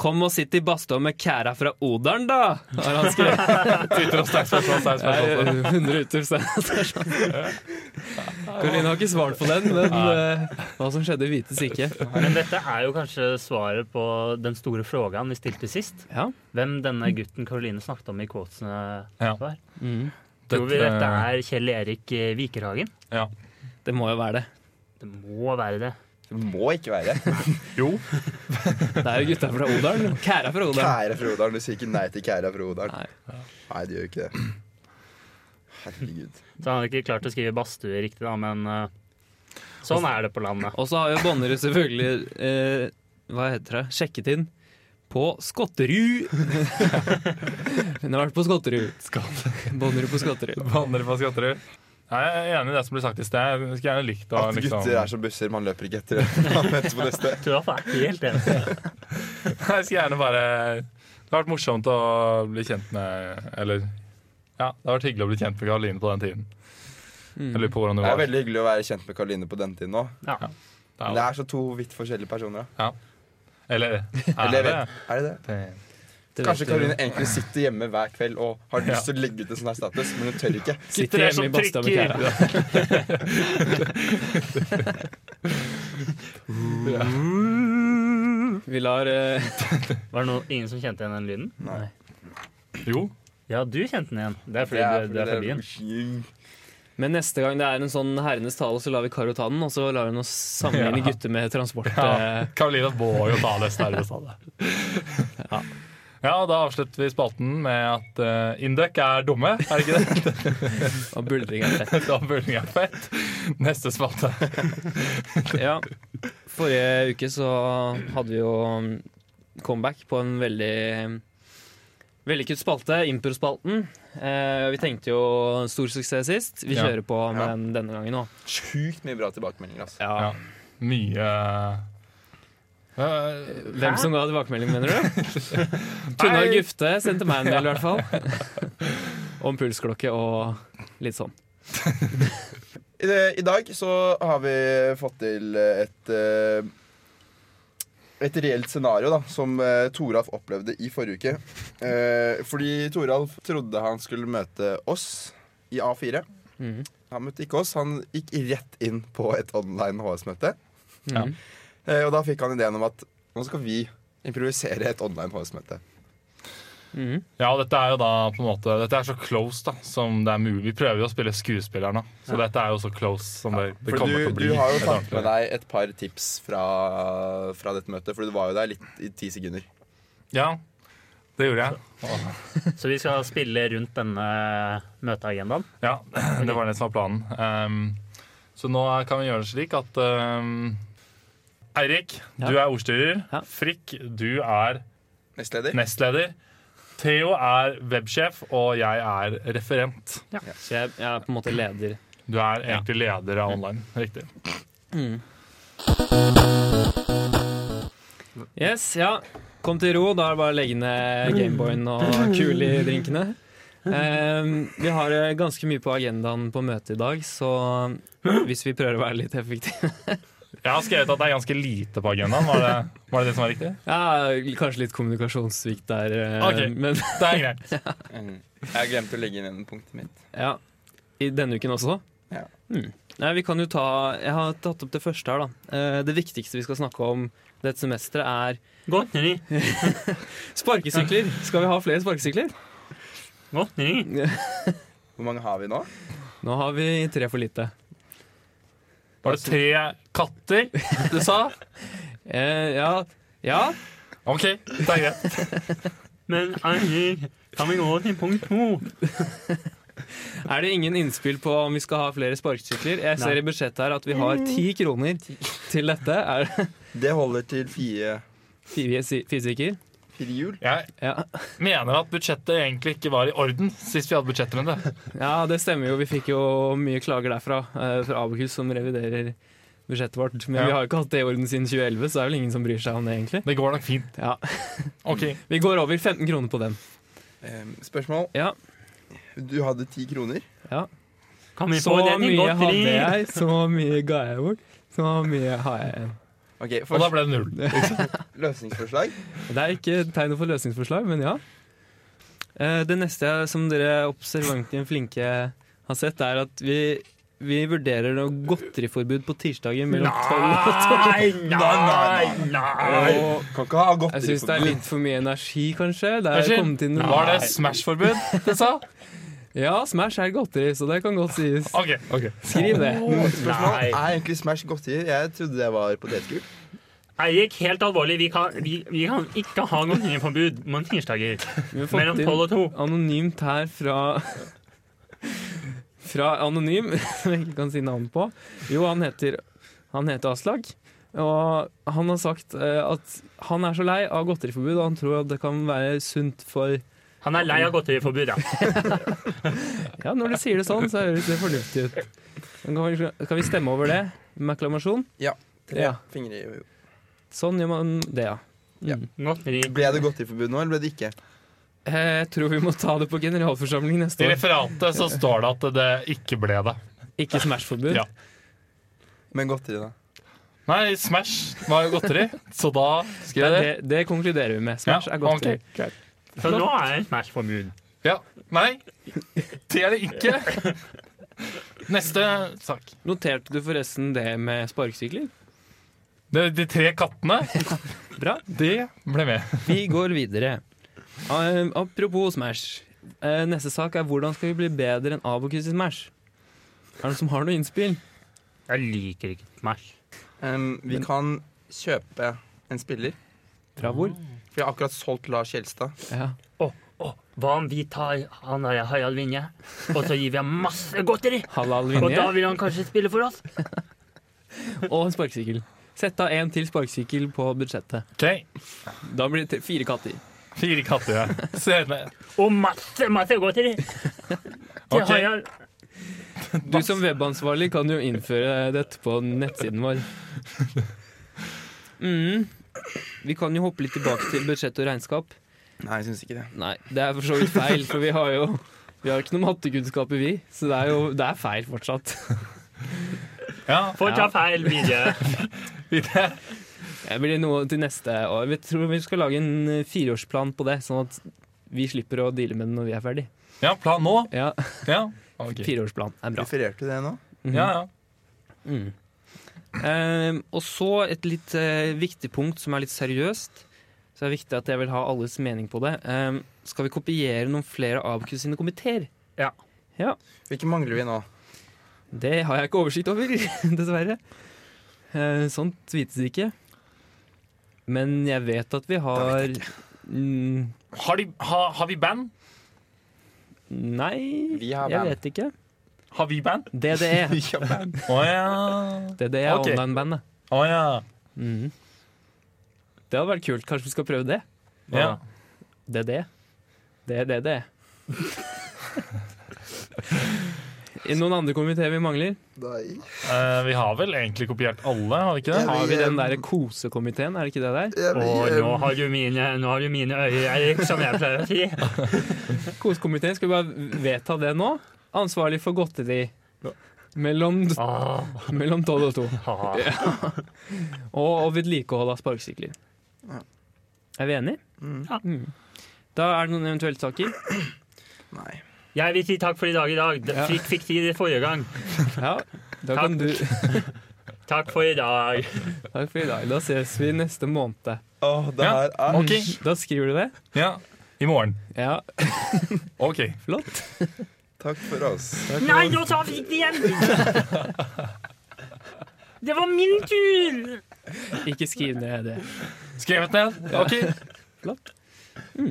S4: Kom og sitt i badstua med kæra fra Odalen, da! Har han skrevet. Eh,
S1: Twitter og sterkt spørsmål, sterkt spørsmål.
S4: Nei, 100 utropstegn. Karoline har ikke svart på den, men eh, hva som skjedde, vites ikke.
S5: Men dette er jo kanskje svaret på den store frågan vi stilte sist.
S4: Ja.
S5: Hvem denne gutten Karoline snakket om i quotesene
S1: Ja.
S5: var.
S4: Mm.
S5: Tror vi
S1: Dette-
S5: dette er Kjell Erik eh, Vikerhagen?
S1: Ja.
S4: Det må jo være det.
S5: Det må være det.
S3: Det må ikke være.
S1: Jo.
S4: Det er jo gutta fra Odalen. Kæra fra Odalen.
S3: Kære fra Odalen. Du sier ikke nei til kære fra Odalen.
S4: Nei.
S3: Nei, du gjør ikke det. Herregud.
S5: Så han hadde ikke klart å skrive badstue riktig, da, men eh, sånn er det på landet.
S4: Og så har jo Bonnerud selvfølgelig eh, Hva heter det? Sjekket inn på Skotterud. Hun har vært på Skotterud. Bonnerud på Skotterud.
S1: Vandrer på Skatterud. Nei, Jeg er enig i det som ble sagt i sted. Jeg skulle gjerne likt å
S3: At
S1: liksom
S3: gutter er som busser, man løper ikke etter dem. Man venter på neste.
S5: Traff er helt enig.
S1: Jeg skulle gjerne bare Det har vært morsomt å bli kjent med Eller ja, det har vært hyggelig å bli kjent med Karoline på den tiden. Jeg lurer på hvordan det
S3: Det er
S1: var.
S3: veldig hyggelig å være kjent med Karoline på den tiden òg.
S5: Ja.
S3: Men det er så to vidt forskjellige personer. da.
S1: Eller er
S3: Eller
S1: det
S3: jeg vet, er det det?
S1: det?
S4: Det
S3: Kanskje
S4: vet du.
S3: Karoline egentlig sitter hjemme hver kveld og har lyst til å legge ut en sånn her status, men hun tør ikke.
S4: Sitter hjemme i badstua med kæra. Vi lar eh,
S5: Var det noen, ingen som kjente igjen den lyden?
S1: Jo.
S5: Ja, du kjente den igjen. Det er fordi
S3: Det er
S5: du, du er fra byen.
S3: fordi det er-
S4: Men neste gang det er en sånn herrenes tale, så lar vi Karo ta den, og så lar hun oss sammenligne
S1: Ja.
S4: gutter med transport.
S1: Ja,
S4: eh,
S1: Karoline må jo ta det snarvest av det. Ja, da avslutter vi spalten med at eh, Indøk er dumme, er det ikke det?
S4: og buldring er fett.
S1: da burde jeg fett. Neste spalte.
S4: Ja. Forrige uke så hadde vi jo um, comeback på en veldig um, vellykket spalte, Impro-spalten. Eh, vi tenkte jo stor suksess sist. Vi
S1: Ja.
S4: kjører på med
S3: Ja.
S4: den denne gangen òg.
S3: Sjukt mye bra tilbakemeldinger. Altså.
S1: Ja. Mye eh,
S4: Hvem som ga tilbakemelding, mener du? Tunnar
S1: Nei.
S4: Gufte sendte meg en mail, i hvert fall. Om pulsklokke og litt sånn.
S3: I, det- I dag så har vi fått til et eh, et reelt scenario da, som eh, Toralf opplevde i forrige uke. Eh, fordi Toralf trodde han skulle møte oss i A4.
S4: Mhm.
S3: Han møtte ikke oss, han gikk rett inn på et online HS-møte.
S1: Ja.
S4: Mhm.
S3: Eh, og da fikk han ideen om at nå skal vi improvisere et online HS-møte.
S4: Mhm.
S1: Ja, og dette er jo da på en måte Dette er så close da som det er mulig. Vi prøver jo å spille skuespiller nå, så dette er jo så close som det, det
S3: For
S1: kommer
S3: du,
S1: til å
S3: du
S1: bli.
S3: har jo
S1: Et
S3: tatt med
S1: ordentlig-
S3: deg et par tips fra, fra dette møtet, for du var jo der litt i ti sekunder.
S1: Ja, det gjorde jeg.
S5: Så vi skal spille rundt denne møteagendaen.
S1: Ja, det var det som var planen. Ehm, så nå er- kan vi gjøre det slik at ehm, Eirik, du er ordstyrer.
S4: Ja.
S1: Frikk, du er
S3: Nestleder?
S1: nestleder. Theo er websjef, og jeg er referent.
S4: Så jeg, jeg er på en måte leder.
S1: Du er egentlig leder av online. Riktig.
S4: Yes, ja. Kom til ro, da er det bare å legge ned Gameboyen og kule i drinkene. Ehm, vi har eh, ganske mye på agendaen på møtet i dag, så hvis vi prøver å være litt effektive
S1: Jeg har skrevet at det er ganske lite på agendaen. Var det var det, det som var riktig?
S4: ja, Kanskje litt kommunikasjonssvikt der, eh,
S1: Ok.
S4: men
S1: Det er greit.
S3: Mm. Jeg glemte å legge inn punktet mitt.
S4: ja. I denne uken også?
S3: Ja.
S4: Mm. Nei, vi kan jo ta Jeg har tatt opp det første her, da. Eh, det viktigste vi skal snakke om dette semesteret, er
S5: Godteri,
S4: sparkesykler. Skal vi ha flere sparkesykler?
S5: godteri.
S3: Hvor mange har vi nå?
S4: Nå har vi tre for lite.
S1: Var det tre katter du sa?
S4: Eh, ja. ja.
S1: OK, det er greit.
S5: Men Eirik, kan vi gå til punkt to?
S4: Er det ingen innspill på om vi skal ha flere sparkesykler? Jeg ser
S5: Nei.
S4: i budsjettet her at vi har ti kroner til dette. Er det
S3: Det holder til fire,
S4: fire, si- fire stykker?
S3: fire hjul.
S1: Jeg
S4: Ja.
S1: mener at budsjettet egentlig ikke var i orden sist vi hadde budsjettrunde.
S4: ja, det stemmer jo. Vi fikk jo mye klager derfra, eh, fra Abokus, som reviderer budsjettet vårt. Men
S1: Ja.
S4: vi har jo ikke hatt det i orden siden 2011, så det er vel ingen som bryr seg om det, egentlig.
S1: Det går nok fint.
S4: Ja.
S1: OK.
S4: Vi går over 15 kroner på den.
S3: Ehm, spørsmål?
S4: Ja.
S3: Du hadde ti kroner.
S5: Kan vi
S4: Så
S5: få den i
S4: mye
S5: godteri?
S4: hadde jeg, så mye ga jeg bort, så mye har jeg igjen.
S3: Ok,
S1: Og da
S3: først,
S1: ble det null.
S3: Løsningsforslag.
S4: Det er ikke tegnet for løsningsforslag, men ja. Eh, Det neste som dere observanten flinke har sett, er at vi, vi vurderer noe godteriforbud på tirsdager mellom 12 og 12.
S5: nei, nei!
S4: Og
S3: Kan ikke ha
S4: jeg syns det er
S3: godteri.
S4: litt for mye energi, kanskje. Det er kommet
S1: Unnskyld,
S4: inn
S1: var det Smash-forbud det sa?
S4: Ja, Smash er godteri, så det kan godt sies.
S1: Ok, ok.
S4: Skriv det.
S3: Spørsmål
S5: Nei.
S3: er egentlig Smash godteri. Jeg trodde det var potetgull.
S5: Eirik, helt alvorlig, vi kan, vi, vi kan ikke ha godteriforbud på tirsdager
S4: Vi har
S5: mellom
S4: fått inn
S5: tolv og to.
S4: anonymt her fra Fra Anonym, som jeg ikke kan si navn på. Jo, han heter, han heter Aslak. Og han har sagt eh, at han er så lei av godteriforbud, og han tror at det kan være sunt for
S5: Han er lei av godteriforbud, ja.
S4: Ja, når du sier det sånn, så høres det fornuftig ut. Men Kan vi, kan vi stemme over det med akklamasjon?
S3: Tre
S4: Ja.
S3: fingre i jo.
S4: Sånn gjør man det, ja.
S3: Ja.
S4: Mm.
S5: Godteri.
S3: Ble det godteriforbud nå, eller ble det ikke?
S4: Eh, Jeg tror vi må ta det på generalforsamling
S1: I
S4: neste år.
S1: referatet så står det at det ikke ble det.
S4: Ikke Smash-forbud.
S1: Ja.
S3: Men godteri, da?
S1: Nei, Smash var jo godteri, så da skrev
S4: Det,
S1: jeg
S4: er
S1: det.
S4: det, det konkluderer vi med. Smash
S1: Ja,
S4: er godteri.
S1: ok, greit.
S5: Så nå er Smash-forbud.
S1: Ja. Nei, det er det ikke. Neste sak.
S4: Noterte du forresten det med sparkesykler?
S1: Det, de tre kattene,
S4: Bra.
S1: det ble med.
S4: Vi går videre. Eh, Apropos Smash. Eh, Neste sak er hvordan skal vi bli bedre enn Abokus i Smash? Er det noen som har noe innspill?
S5: Jeg liker ikke Smash.
S3: Em, vi kan kjøpe en spiller.
S4: Fra hvor?
S3: For jeg har akkurat solgt Lars Kjelstad.
S4: Ja.
S5: Å, hva om vi tar han der Harald Vinje, og så gir vi ham masse godteri?
S4: Halal
S5: Og da
S4: Vinje
S5: vil han kanskje spille for oss?
S4: og en sparkesykkel. Sett av en til sparkesykkel på budsjettet.
S1: Ok,
S4: Da blir det til fire katter.
S1: Fire katter, ja. Se ned.
S5: Og masse, masse godteri! Til
S1: Ok.
S5: Harald.
S4: Du som webansvarlig kan jo innføre dette på nettsiden vår. Mm. Vi kan jo hoppe litt tilbake til budsjett og regnskap.
S3: Nei, jeg syns ikke det.
S4: Nei, det er for så vidt feil, for vi har jo vi har ikke noe mattekunnskaper, vi. Så det er jo det er feil fortsatt.
S1: Ja,
S5: Fortsatt feil Vinje.
S1: videre.
S4: Det blir noe til neste år. Vi tror vi skal lage en eh, fireårsplan på det, sånn at vi slipper å deale med det når vi er ferdig.
S1: ja plan nå.
S4: Ja,
S1: Ja. Ok.
S4: Fireårsplan er bra.
S3: Refererte du det nå?
S4: Mhm.
S1: ja, ja.
S4: Mm. Ehm, og så et litt eh, viktig punkt som er litt seriøst. Så er det viktig at jeg vil ha alles mening på det. Ehm, skal vi kopiere noen flere av Abacus sine komiteer?
S3: Hvilke mangler vi nå?
S4: Det har jeg ikke oversikt over, dessverre. Eh, sånt vites det ikke. Men jeg vet at vi har Mm,
S1: Har, de, ha, har vi band?
S4: Nei,
S3: Vi har
S4: jeg
S3: band.
S4: vet ikke. E.
S1: Har vi band?
S4: DDE.
S3: Vi har band.
S1: Å ja.
S4: DDE E er
S1: Ok.
S4: online-bandet.
S1: Å ja.
S4: Mhm. Det hadde vært kult. Kanskje vi skal prøve det?
S1: ja.
S4: Det er det. Det er E. det det er. I Noen andre komiteer vi mangler?
S3: Nei.
S1: Eh, vi har vel egentlig kopiert alle, har vi ikke det?
S4: Har vi eh, den der kosekomiteen, er det ikke det der?
S5: Å, nå har du mine, nå har du mine øyne, Erik, som jeg pleier å si.
S4: Kosekomiteen, skal vi bare vedta det nå? Ansvarlig for godteri. Mellom,
S1: Ah.
S5: Åh,
S4: mellom 12 og 2.
S5: åh.
S4: Og, og vedlikehold av sparkesykler. Er vi enige?
S3: Mm.
S4: Mm. Da er det noen eventuelle saker.
S3: Nei.
S5: Jeg vil si takk for i dag i dag.
S4: Ja.
S5: Fikk, fikk tid i forrige gang.
S4: Ja, da kan du
S5: Takk for i dag.
S4: Takk for i dag. Da ses vi neste måned.
S3: Åh, det
S1: Ja.
S3: her er
S1: Ok.
S4: Da skriver du det?
S1: Ja. I morgen.
S4: Ja,
S1: OK.
S4: flott.
S3: Takk for oss.
S5: Nei, nå sa vi det igjen! Det var min tur!
S4: Ikke skriv ned det.
S1: Skrevet ned? OK.
S4: Mm.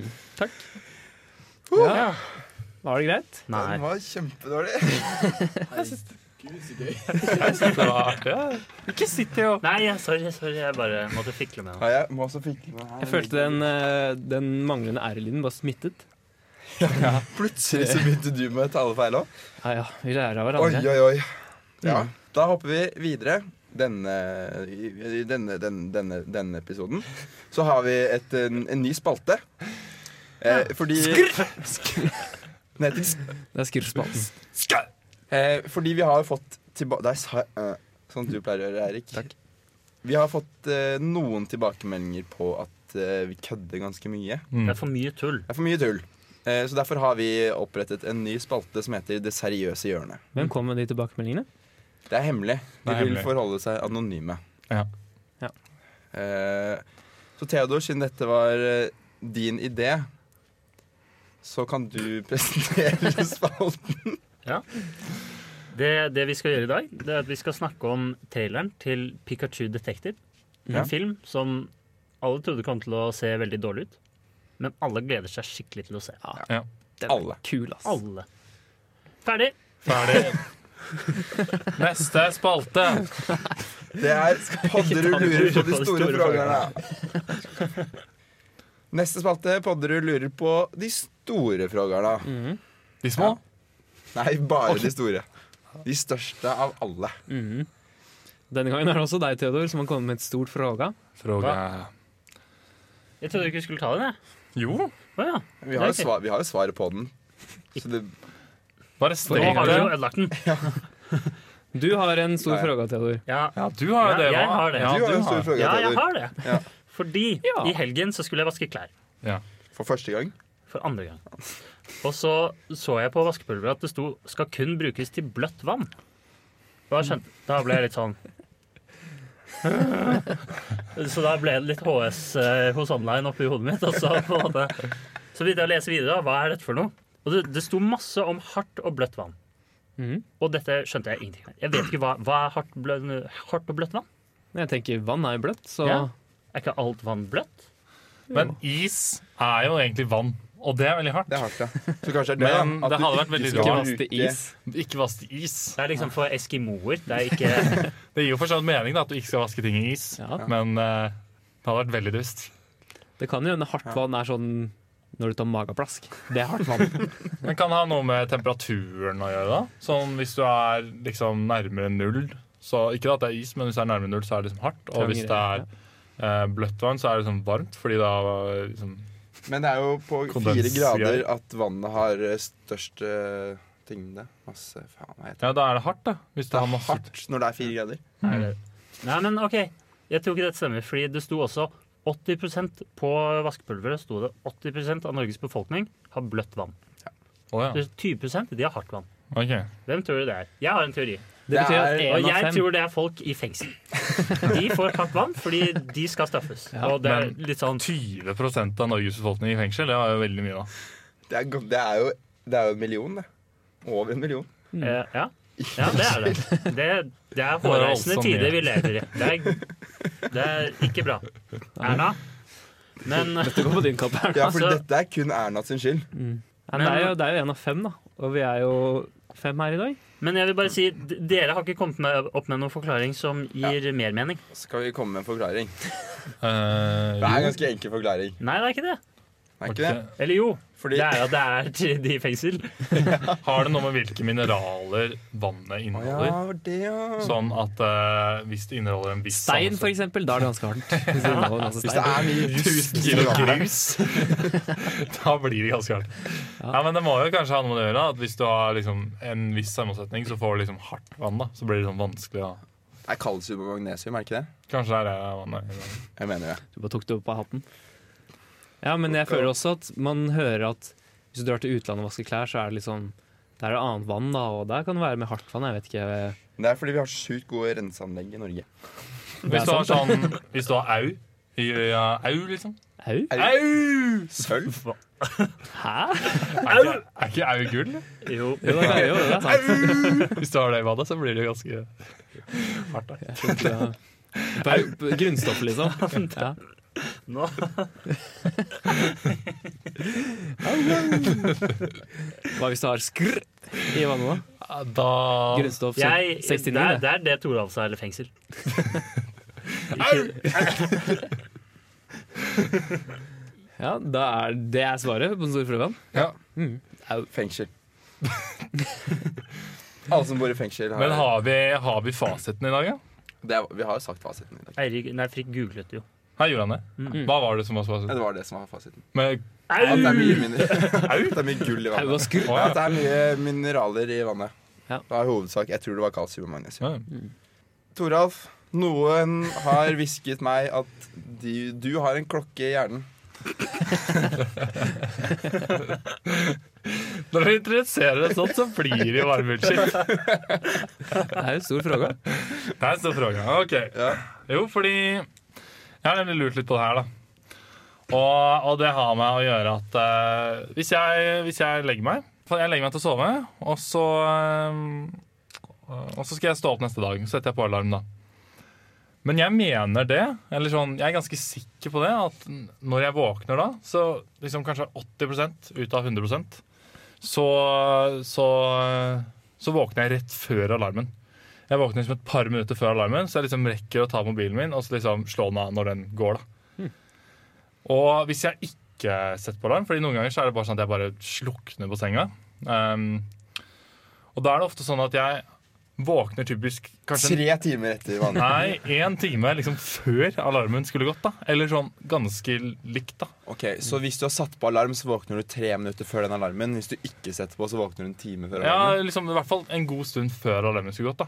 S4: Ja. Var det greit?
S3: Den var kjempedårlig.
S2: Gud, så gøy.
S1: Det var artig. ja. Ikke sitt her og
S5: Nei, ja, sorry, sorry, jeg bare måtte fikle med det.
S3: Ja, jeg må også fikle med her.
S4: Jeg følte den, eh, den manglende R-lyden var smittet.
S3: Plutselig så begynte du med talefeil òg.
S4: Ah, Ja ja, vi lærer av
S3: Oi,
S4: hverandre.
S3: oi, oi. Ja. Da hopper vi videre. Denne, i- i denne, denne, denne, denne episoden så har vi et, en, en ny spalte. Eh, fordi Den heter Sk-
S4: Det er skriftspalten.
S3: eh, Fordi vi har fått tilbake Der sa jeg eh, sånn som du pleier å gjøre, Eirik. Vi har fått eh, noen tilbakemeldinger på at eh, vi kødder ganske mye.
S1: Mm.
S5: Det er for mye tull.
S3: Det er for mye tull. Eh, Så derfor har vi opprettet en ny spalte som heter Det seriøse hjørnet.
S4: Hvem kom med de tilbakemeldingene?
S3: Det er hemmelig. De
S1: Det er
S3: vil
S1: hemmelig.
S3: forholde seg anonyme.
S1: Ja.
S4: Ja.
S3: Eh, Så Theodor, siden dette var eh, din idé, så kan du presentere spalten.
S5: Det, det vi skal gjøre i dag, det er at vi skal snakke om traileren til Pikachu Detective. En
S3: Ja.
S5: film som alle trodde kom til å se veldig dårlig ut, men alle gleder seg skikkelig til å se.
S4: Den
S3: Alle.
S4: Er kul, ass.
S5: Alle. Ferdig.
S1: ferdig. Neste spalte.
S3: Det er Podderud lurer på de store
S5: spørsmålene.
S3: frågerne. Neste spalte, Podderud lurer på de store frågerne.
S4: Mhm,
S1: De små?
S3: Nei, bare de store. De største av alle.
S4: mhm. Denne gangen er det også deg, Theodor, som har kommet med et stort fråga.
S1: Fråga
S5: Jeg trodde du ikke skulle ta den, jeg.
S1: Jo.
S5: Å ja.
S3: Vi har jo,
S5: Ok.
S3: svar, vi har jo svaret på den. Så det,
S1: Bare
S5: Nå
S1: stell
S5: har du jo
S1: det.
S5: ødelagt den.
S4: Du har en stor
S3: Nei.
S4: fråga, Theodor.
S5: Ja,
S1: Ja, du har jo
S5: Ja,
S1: det.
S5: jeg
S1: hva?
S5: har det.
S1: Ja,
S3: du har jo store
S1: har.
S3: frågere,
S5: ja jeg
S3: Theodor.
S5: har det.
S3: Ja.
S5: Fordi
S4: Ja.
S5: i helgen så skulle jeg vaske klær.
S1: Ja.
S3: For første gang.
S5: For andre gang. Og så så jeg på vaskepulveret at det sto 'skal kun brukes til bløtt vann'. Da, skjønte, da ble jeg litt sånn Så da ble det litt HS eh, hos online oppi hodet mitt. Og så, på en måte, så begynte jeg å lese videre. da, Hva er dette for noe? Og det, det sto masse om hardt og bløtt vann.
S4: Mhm.
S5: Og dette skjønte jeg ingenting av. Jeg vet ikke hva, hva er hardt, blø- hardt og bløtt vann?
S4: Jeg tenker vann er jo bløtt, så
S5: Ja. Er ikke alt vann bløtt?
S1: Men is er jo egentlig vann, og det er veldig hardt.
S3: Det er hardt, ja. Så kanskje det er
S1: Men
S3: at
S1: det
S3: du
S1: hadde vært
S3: ikke
S1: veldig
S3: skal
S4: ikke
S1: rart.
S4: vaske
S3: bruke-
S4: is.
S1: Ikke vaske is.
S5: Det er liksom for eskimoer. Det er ikke
S1: Det gir jo for sånn mening da, at du ikke skal vaske ting i is,
S4: Ja.
S1: men eh, det hadde vært veldig dust.
S4: Det kan jo hende hardt vann er sånn når du tar mageplask. Det er hardt vann.
S1: Men kan det ha noe med temperaturen å gjøre? da? Sånn Hvis du er liksom nærmere null så Ikke at det er is, men hvis det er nærmere null, så er det liksom hardt. Og hvis det er eh, bløtt vann, så er det liksom varmt, fordi da eh, liksom,
S3: Men det er jo på fire
S1: Kondensgreier.
S3: grader at vannet har eh, størst eh, tyngde. Masse faen, hva heter det?
S1: Ja, da er det hardt, da. Hvis
S3: Det
S1: det har
S3: er
S1: masse
S3: hardt når det er fire grader.
S5: Er det- Nei, men OK. Jeg tror ikke dette stemmer, fordi det sto også 80 på vaskepulveret sto det 80 av Norges befolkning har bløtt vann.
S1: Å ja.
S5: Så 20 de har hardt vann.
S1: Ok.
S5: Hvem tror du det er? Jeg har en teori.
S4: Det betyr at
S3: Det er-
S5: Og
S4: én
S5: jeg
S4: av fem
S5: tror det er folk i fengsel. De får hardt vann fordi de skal straffes. Og det er
S1: men-
S5: litt sånn
S1: 20 av Norges befolkning i fengsel, det var jo veldig mye, da.
S3: Det er, go- det er, jo, det er jo en million, det. Over en million.
S5: eh, Ja, ja det er det. Det, det er
S1: Det
S5: hårreisende
S1: var voldsomt
S5: tider
S1: mye.
S5: vi lever i. Det er, det er ikke bra. Erna? Men
S4: Dette går på din kapp her.
S3: Ja, for
S5: Altså-
S3: dette er kun Erna sin skyld.
S4: Men det er jo- det er jo én av fem, da. Og vi er jo fem her i dag.
S5: Men jeg vil bare si, d- dere har ikke kommet med, opp med noen forklaring som gir mer mening.
S3: Skal vi komme med en forklaring?
S1: Eh,
S3: Det er en
S1: jo.
S3: ganske enkel forklaring.
S5: Nei, det er ikke det.
S3: Er ikke det?
S5: Eller jo.
S3: Fordi-
S5: Det er jo at det er til de i fengsel.
S1: Har det noe med hvilke mineraler vannet
S3: Å ja,
S1: inneholder?
S3: var det, ja.
S1: Sånn at eh, hvis det inneholder en viss
S4: Stein,
S1: sånn-
S4: for
S1: sammensetning-
S4: eksempel. Da er det ganske hardt. Hvis det inneholder masse
S3: Hvis det
S4: stein.
S3: er mye jus
S1: 1000 kilo grus. da blir det ganske hardt. Ja. men Det må jo kanskje ha noe med å gjøre. At hvis du har liksom en viss sammensetning, så får du liksom hardt vann. da Så blir det sånn vanskelig. da
S3: Det er kalsium og magnesium, er det ikke det?
S1: Kanskje det er det vannet.
S3: Jeg mener det.
S4: Du bare tok det opp av hatten. Ja, men jeg føler også at man hører at hvis du drar til utlandet og vasker klær, så er det liksom Det er jo annet vann, da, og der kan det være med hardt vann. Jeg vet ikke.
S3: Men Det er fordi vi har så sjukt gode renseanlegg i Norge.
S1: Hvis du har sånn Hvis du har au i- ja, Au, liksom.
S4: Au?
S1: Au!
S3: Sølv?
S4: Hæ?
S1: Er ikke, er ikke au gull?
S5: Jo.
S4: Jo, det er jo det. er sant.
S1: Hvis du har det i vannet, så blir det ganske hardt. da
S4: Jeg skjønte det. Bare Grunnstoffet, liksom. Ja.
S5: Nå.
S4: Hva hvis du har skrr i vannet, da?
S1: Da
S4: Grunnstoff så-
S5: Jeg, det,
S4: 69,
S5: er,
S4: det.
S5: det er det Toralv sa, eller fengsel.
S4: Ja, da er det er svaret på den store prøven.
S3: Ja.
S4: Au.
S3: Mm. Fengsel. Alle som bor i fengsel,
S1: Men
S3: har,
S1: har vi, har vi fasiten i dag, ja?
S3: det er, vi har jo sagt fasiten i dag.
S5: Eirik Nei, Frikk googlet jo.
S1: Her gjorde han det. Hva var det som var
S3: Ja,
S1: fasiten?
S3: det var det som var fasiten.
S1: Med
S3: At det er
S5: Au!
S3: mye, mine- at det er mye gull i
S4: Au og
S3: vannet.
S4: skrr.
S1: Å,
S3: Ja,
S1: ja.
S3: at det er mye mineraler i vannet.
S4: Ja.
S3: Det var i hovedsak. Jeg tror det var kalsium og magnesium.
S1: Ja.
S3: Toralf, noen har hvisket meg at de, du har en klokke i hjernen.
S1: Når du interesserer deg sånn, så blir det jo bare bullshit.
S4: Det er jo en stor fråga.
S1: Der står frågan. Ok.
S3: Ja.
S1: Jo, fordi jeg har nemlig lurt litt på det her, da. Og, og det har med å gjøre at eh, hvis, jeg, hvis jeg legger meg for Jeg legger meg til å sove, og så, eh, og så skal jeg stå opp neste dag. Så setter jeg på alarm, da. Men jeg mener det, eller sånn, jeg er ganske sikker på det, at når jeg våkner da, så liksom kanskje 80 ut av 100 så, så, så våkner jeg rett før alarmen. Jeg våkner liksom et par minutter før alarmen, så jeg liksom rekker å ta mobilen min og så liksom slå den av når den går. da. Og hvis jeg ikke setter på alarm, fordi noen ganger så er det bare sånn at jeg bare slukner på senga. Um, og da er det ofte sånn at jeg våkner typisk kanskje
S3: Tre timer etter vannet.
S1: Nei, én time liksom før alarmen skulle gått. da Eller sånn ganske likt, da.
S3: Ok, Så hvis du har satt på alarm, så våkner du tre minutter før den alarmen. Hvis du ikke setter på, så våkner du en time før
S1: Ja,
S3: alarmen.
S1: liksom I hvert fall en god stund før alarmen skulle gått. da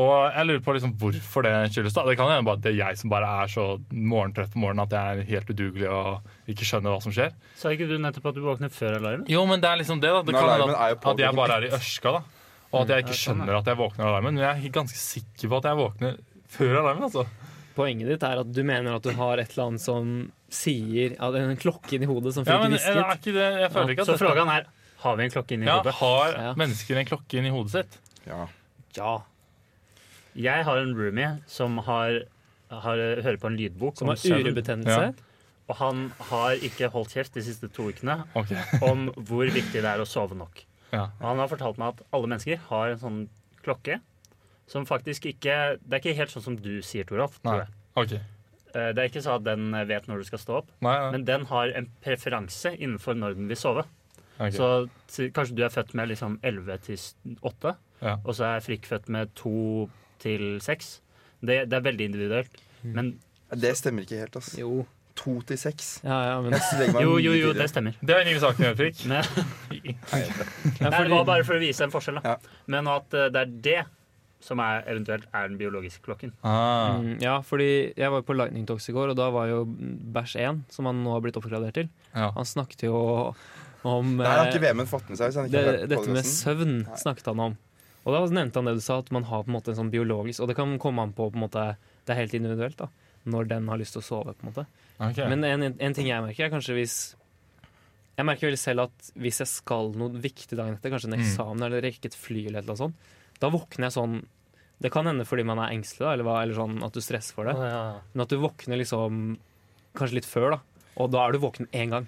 S1: Og jeg lurer på liksom hvorfor det skyldes. da Det kan hende bare at det er jeg som bare er så morgentrøtt på morgenen at jeg er helt udugelig og ikke skjønner hva som skjer.
S5: Sa ikke du nettopp at du våknet før alarmen?
S1: Jo, men det er liksom det, da. Det
S3: Men
S1: kan
S3: alarmen
S1: hende
S3: er jo Mm,
S1: at,
S3: på
S1: at jeg
S3: klokken
S1: bare er i ørska, da. Og at jeg ikke
S5: sånn,
S1: skjønner at jeg våkner av alarmen. Men jeg er ganske sikker på at jeg våkner før alarmen, altså.
S4: Poenget ditt er at du mener at du har et eller annet som sier at en klokke inni hodet som
S1: Ja,
S4: fikk
S1: men er
S4: hvisket.
S1: ikke det, jeg føler ikke at
S5: Så
S1: dette-
S5: frågan er Har vi en klokke inni
S1: Ja,
S5: hodet?
S1: har
S4: Ja.
S1: mennesker en klokke inni hodet sitt?
S3: Ja.
S4: Ja.
S5: Jeg har en roomie som har, har, eh, hører på en lydbok
S4: Som
S5: om
S4: har
S5: søvn.
S4: urebetennelse.
S5: Og han har ikke holdt kjeft de siste to ukene
S1: Ok.
S5: om hvor viktig det er å sove nok.
S1: Ja.
S5: Og han har fortalt meg at alle mennesker har en sånn klokke som faktisk ikke Det er ikke helt sånn som du sier, Toralf. tror
S1: Nei.
S5: jeg.
S1: Ok.
S5: Eh, Det er ikke sånn at den vet når du skal stå opp,
S1: Nei, nei.
S5: men den har en preferanse innenfor når den vil sove.
S1: ok.
S5: Så si- kanskje du er født med liksom 11 til s- 8,
S1: Ja.
S5: og så er Frikk født med 2 til 6. Det, det er veldig individuelt.
S1: Hmm.
S5: Men
S3: Det stemmer ikke helt, ass.
S4: Jo.
S3: To til seks.
S4: Ja, ja, men
S3: Jeg legger meg
S5: jo,
S3: mye
S5: jo, jo,
S3: tidligere.
S5: det stemmer.
S1: Det var ingen sak med Frikk.
S5: Men,
S4: Ja,
S5: Nei, det
S4: fordi-
S5: var bare for å vise en forskjell, da.
S3: Ja.
S5: Men at eh, det er det som er, eventuelt er den biologiske klokken.
S1: Ah.
S4: Mm, Ja, fordi jeg var jo på Lightning Talks i går, og da var jo Bæsj 1, som han nå har blitt oppgradert til.
S1: Ja.
S4: Han snakket jo om
S3: Der har
S4: eh,
S3: ikke Vemund fått med seg. Hvis han ikke
S4: det,
S3: har hørt
S4: dette med
S3: podcasten.
S4: søvn
S3: Nei.
S4: snakket han om. Og da nevnte han det du sa, at man har på en måte en sånn biologisk Og det kan komme an på, på en måte, det er helt individuelt, da. Når den har lyst til å sove, på en måte.
S1: ok.
S4: Men en, en ting jeg merker, er kanskje hvis Jeg merker veldig selv at hvis jeg skal noe viktig dagen etter, kanskje en
S1: Mm.
S4: eksamen eller rekke et fly eller et eller annet sånt, da våkner jeg sånn Det kan hende fordi man er engstelig, da, eller, hva, eller sånn at du stresser for det. Men at du våkner liksom kanskje litt før, da. Og da er du våken én gang.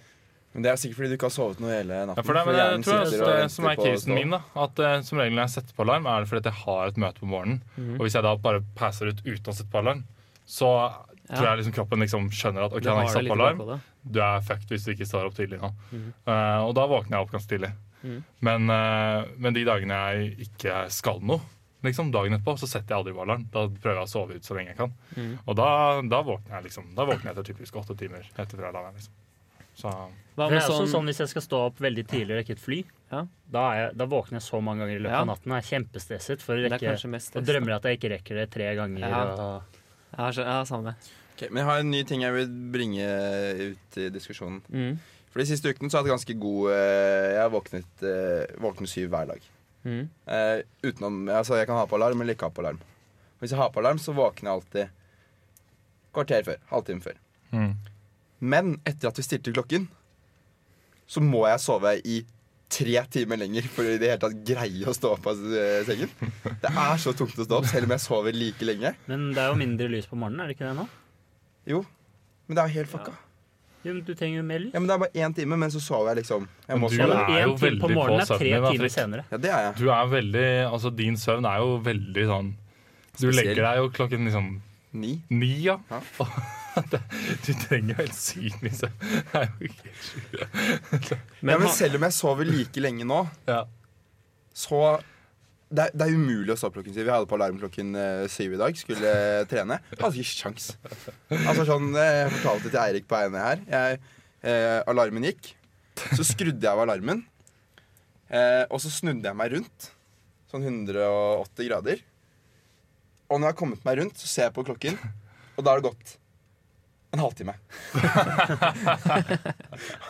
S3: Men det er sikkert fordi du ikke har sovet noe hele natten.
S1: Ja, for det, men
S3: hjernen
S1: jeg tror jeg,
S3: sitter og
S1: det
S3: venter
S1: som er
S3: på å
S1: casen
S3: stå.
S1: min, da, at eh, som regel når jeg setter på alarm, er det fordi at jeg har et møte på morgenen. Og hvis jeg da bare passer ut uten å sette på alarm, så
S4: Ja.
S1: tror jeg liksom kroppen liksom skjønner at OK,
S4: Du
S1: han har
S4: har
S1: ikke
S4: det
S1: satt
S4: litt
S1: på
S4: i
S1: alarm.
S4: bakhodet.
S1: Du er fucked hvis du ikke står opp tidlig nå.
S3: Mm.
S4: Mhm.
S1: Eh, og da våkner jeg opp ganske tidlig.
S4: Mhm.
S1: Men, eh, men de dagene jeg ikke skal noe, liksom dagen etterpå, så setter jeg aldri på alarm. Da prøver jeg å sove ut så lenge jeg kan.
S3: Mm.
S4: Mhm.
S1: Og da, da våkner jeg liksom Da våkner jeg etter typisk åtte timer etter fra alarmen. Liksom. Så
S4: Hva
S5: Det
S4: med
S5: er også
S4: sånn,
S5: sånn hvis jeg skal stå opp veldig tidlig og rekke et fly.
S4: Ja.
S5: Da, er jeg, da våkner jeg så mange ganger i løpet
S4: Ja.
S5: av natten og er kjempestresset for å
S4: Det er
S5: rekke
S4: kanskje mest
S5: og
S4: stress.
S5: drømmer at jeg ikke rekker det tre ganger.
S4: Ja.
S5: Og,
S4: Ja, skjø- ja, samme.
S3: Ok, men jeg har en ny ting jeg vil bringe ut i diskusjonen.
S4: Mm.
S3: For de siste ukene så har jeg hatt ganske god eh, Jeg har våknet eh, våknet syv hver dag.
S4: Mm.
S3: Eh, utenom Altså, jeg kan ha på alarm eller ikke ha på alarm. Hvis jeg har på alarm, så våkner jeg alltid kvarter før. Halvtime før.
S1: mm.
S3: Men etter at vi stilte klokken, så må jeg sove i tre timer lenger for å i det hele tatt greie å stå opp av eh, sengen. Det er så tungt å stå opp, selv om jeg sover like lenge.
S5: men det er jo mindre lys på morgenen, er det ikke det nå?
S3: Jo, men det er jo helt fucka.
S5: Jo, men du trenger jo mer lys.
S3: Ja, men Det er bare én time, men så sover jeg liksom. Jeg må
S1: Men du
S5: Ja,
S3: sove.
S5: men
S1: er
S5: en
S1: jo
S5: time på
S1: veldig på
S5: morgenen er
S1: søvnen,
S5: tre
S1: da,
S5: timer
S1: Frik.
S5: senere.
S3: Ja, det er jeg.
S1: Du er veldig Altså, din søvn er jo veldig sånn Du legger deg jo klokken liksom
S3: Ni.
S1: ni, ja.
S3: Ja.
S1: Og det- Du trenger jo helt sykt mye søvn. Det er jo ikke helt sjukt.
S3: Men, ja,
S4: Men
S3: men
S4: ha-
S3: selv om jeg sover like lenge nå,
S1: Ja.
S3: så det er, det er umulig å stå opp klokken syv. Jeg hadde på alarm klokken eh, syv i dag. Skulle eh, trene. Jeg hadde ikke sjans. Altså sånn, eh, Jeg fortalte til Eirik på eierne her. Jeg, eh, alarmen gikk. Så skrudde jeg av alarmen. Eh, og så snudde jeg meg rundt. Sånn 180 grader. Og når jeg har kommet meg rundt, så ser jeg på klokken, og da har det gått en halvtime.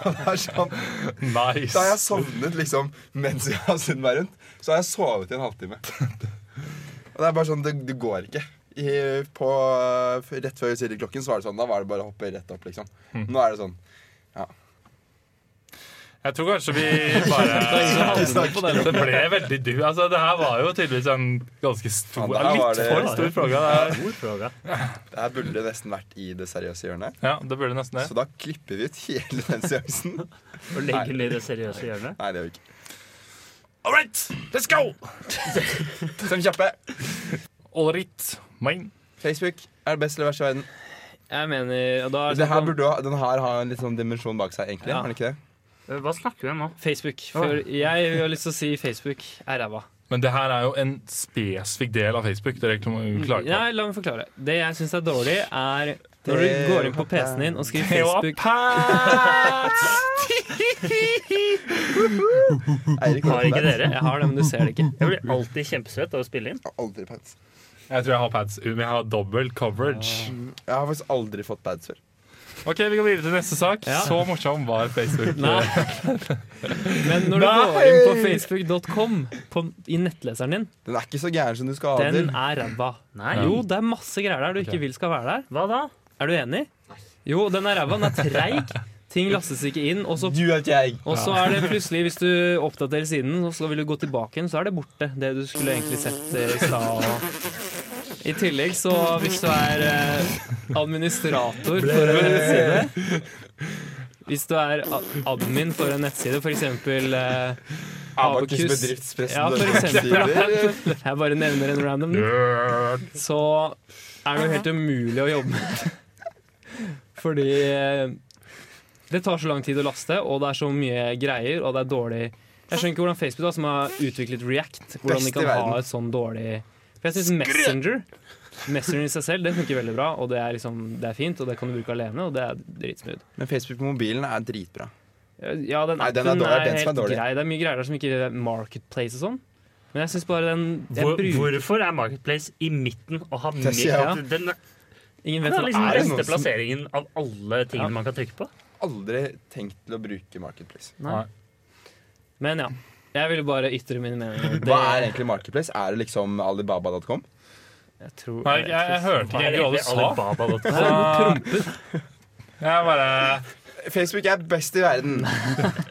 S3: og det er sånn
S1: Nice.
S3: da har jeg sovnet liksom mens jeg har snudd meg rundt. Så har jeg sovet i en halvtime. Og det er bare sånn, det, det går ikke. I, på, rett før klokken så var det sånn, da var det bare å hoppe rett opp, liksom. Nå er det sånn.
S1: Jeg tror kanskje vi bare
S3: Ikke snakk.
S1: Det ble veldig du. Altså, det her var jo tydeligvis en ganske stor
S3: Ja, der var
S1: Litt
S3: det-
S1: for stor fråga. Det her.
S5: God fråga.
S3: Det her burde nesten vært i det seriøse hjørnet.
S1: Ja, det burde nesten det.
S3: Så da klipper vi ut hele den seansen.
S5: Og legger den i det seriøse hjørnet.
S3: Nei, det gjør vi ikke.
S1: All right, let's go!
S3: Fem kjappe.
S1: All right, mine.
S3: Facebook er det beste eller verste i verden.
S4: Jeg mener og da er det
S3: Det her
S4: sånn-
S3: burde, jo ha- den her har en litt sånn dimensjon bak seg, egentlig.
S4: Ja.
S3: Har den ikke det?
S5: Eh, Hva snakker vi om nå?
S4: Facebook. For jeg har lyst til å si Facebook er ræva.
S1: Men det her er jo en spesifikk del av Facebook. Dere klager på
S4: Nei, la meg forklare. Det jeg syns er dårlig, er når du går inn på PC-en din og skriver Facebook
S3: Eirik
S5: Har ikke dere?
S4: Jeg har det, men du ser det ikke.
S5: Jeg blir alltid kjempesvett av å spille inn.
S3: Jeg har aldri pads.
S1: Jeg tror jeg har pads. Vi har dobbel coverage.
S3: Jeg har faktisk aldri fått pads før.
S1: Ok, Vi går videre til neste sak.
S4: Ja.
S1: Så morsom var Facebook.
S4: Nei. Men når du går inn på facebook.com på, i nettleseren din,
S3: Den er ikke så gæren som du skal ha
S4: den
S3: til.
S4: er ræva.
S5: Nei.
S4: Jo, det er masse greier der du
S1: Ok.
S4: ikke vil skal være der.
S5: Hva da?
S4: Er du enig? Jo, den er ræva. Den er treig. Ting lastes ikke inn, og så
S3: Du er ikke jeg.
S4: og så er det plutselig, hvis du oppdaterer siden, og så vil du gå tilbake igjen, så er det borte. Det du skulle egentlig sett eh, i stad. og- I tillegg så, hvis du er eh, administrator for en nettside Hvis du er a- admin for en nettside, for eksempel eh,
S3: Abakus
S4: Abacus.
S3: bedriftspressen.
S4: Ja, for
S3: Norge
S4: eksempel.
S3: Sider.
S4: Jeg bare nevner en random. Så er det jo helt umulig å jobbe med. Fordi eh, det tar så lang tid å laste, og det er så mye greier, og det er dårlig Jeg skjønner ikke hvordan Facebook, da, som har utviklet React, hvordan de
S3: Best i
S4: kan ha
S3: verden.
S4: et sånn dårlig For jeg syns Messenger Messenger i seg selv, det funker veldig bra, og det er, liksom, det er fint, og det kan du bruke alene, og det er dritsmooth.
S3: Men Facebook på mobilen er dritbra.
S4: Ja, den
S3: Nei, den
S4: appen
S3: er
S4: er,
S3: dårlig, den som er
S4: helt
S3: dårlig.
S4: grei. Det er mye greier der som ikke er Marketplace og sånn. Men jeg syns bare den jeg
S5: Hvor,
S4: bruker-
S5: hvorfor er Marketplace i midten og har
S3: Det sier jeg.
S5: mer Den er
S4: Ingen
S5: den
S4: vet
S5: er
S4: hva
S5: liksom
S3: Er
S5: den
S3: det
S5: beste
S3: noen som-
S5: plasseringen av alle tingene man kan trykke på.
S3: Aldri tenkt til å bruke Marketplace.
S4: Nei.
S1: Nei.
S4: Men ja. Jeg ville bare ytre mine meninger.
S3: Hva er egentlig Marketplace? Er det liksom alibaba.com?
S4: Jeg tror
S1: Nei, jeg, jeg hørte ikke egentlig hva du sa.
S5: Alibaba.com.
S1: Så jeg bare
S3: Facebook er best i verden.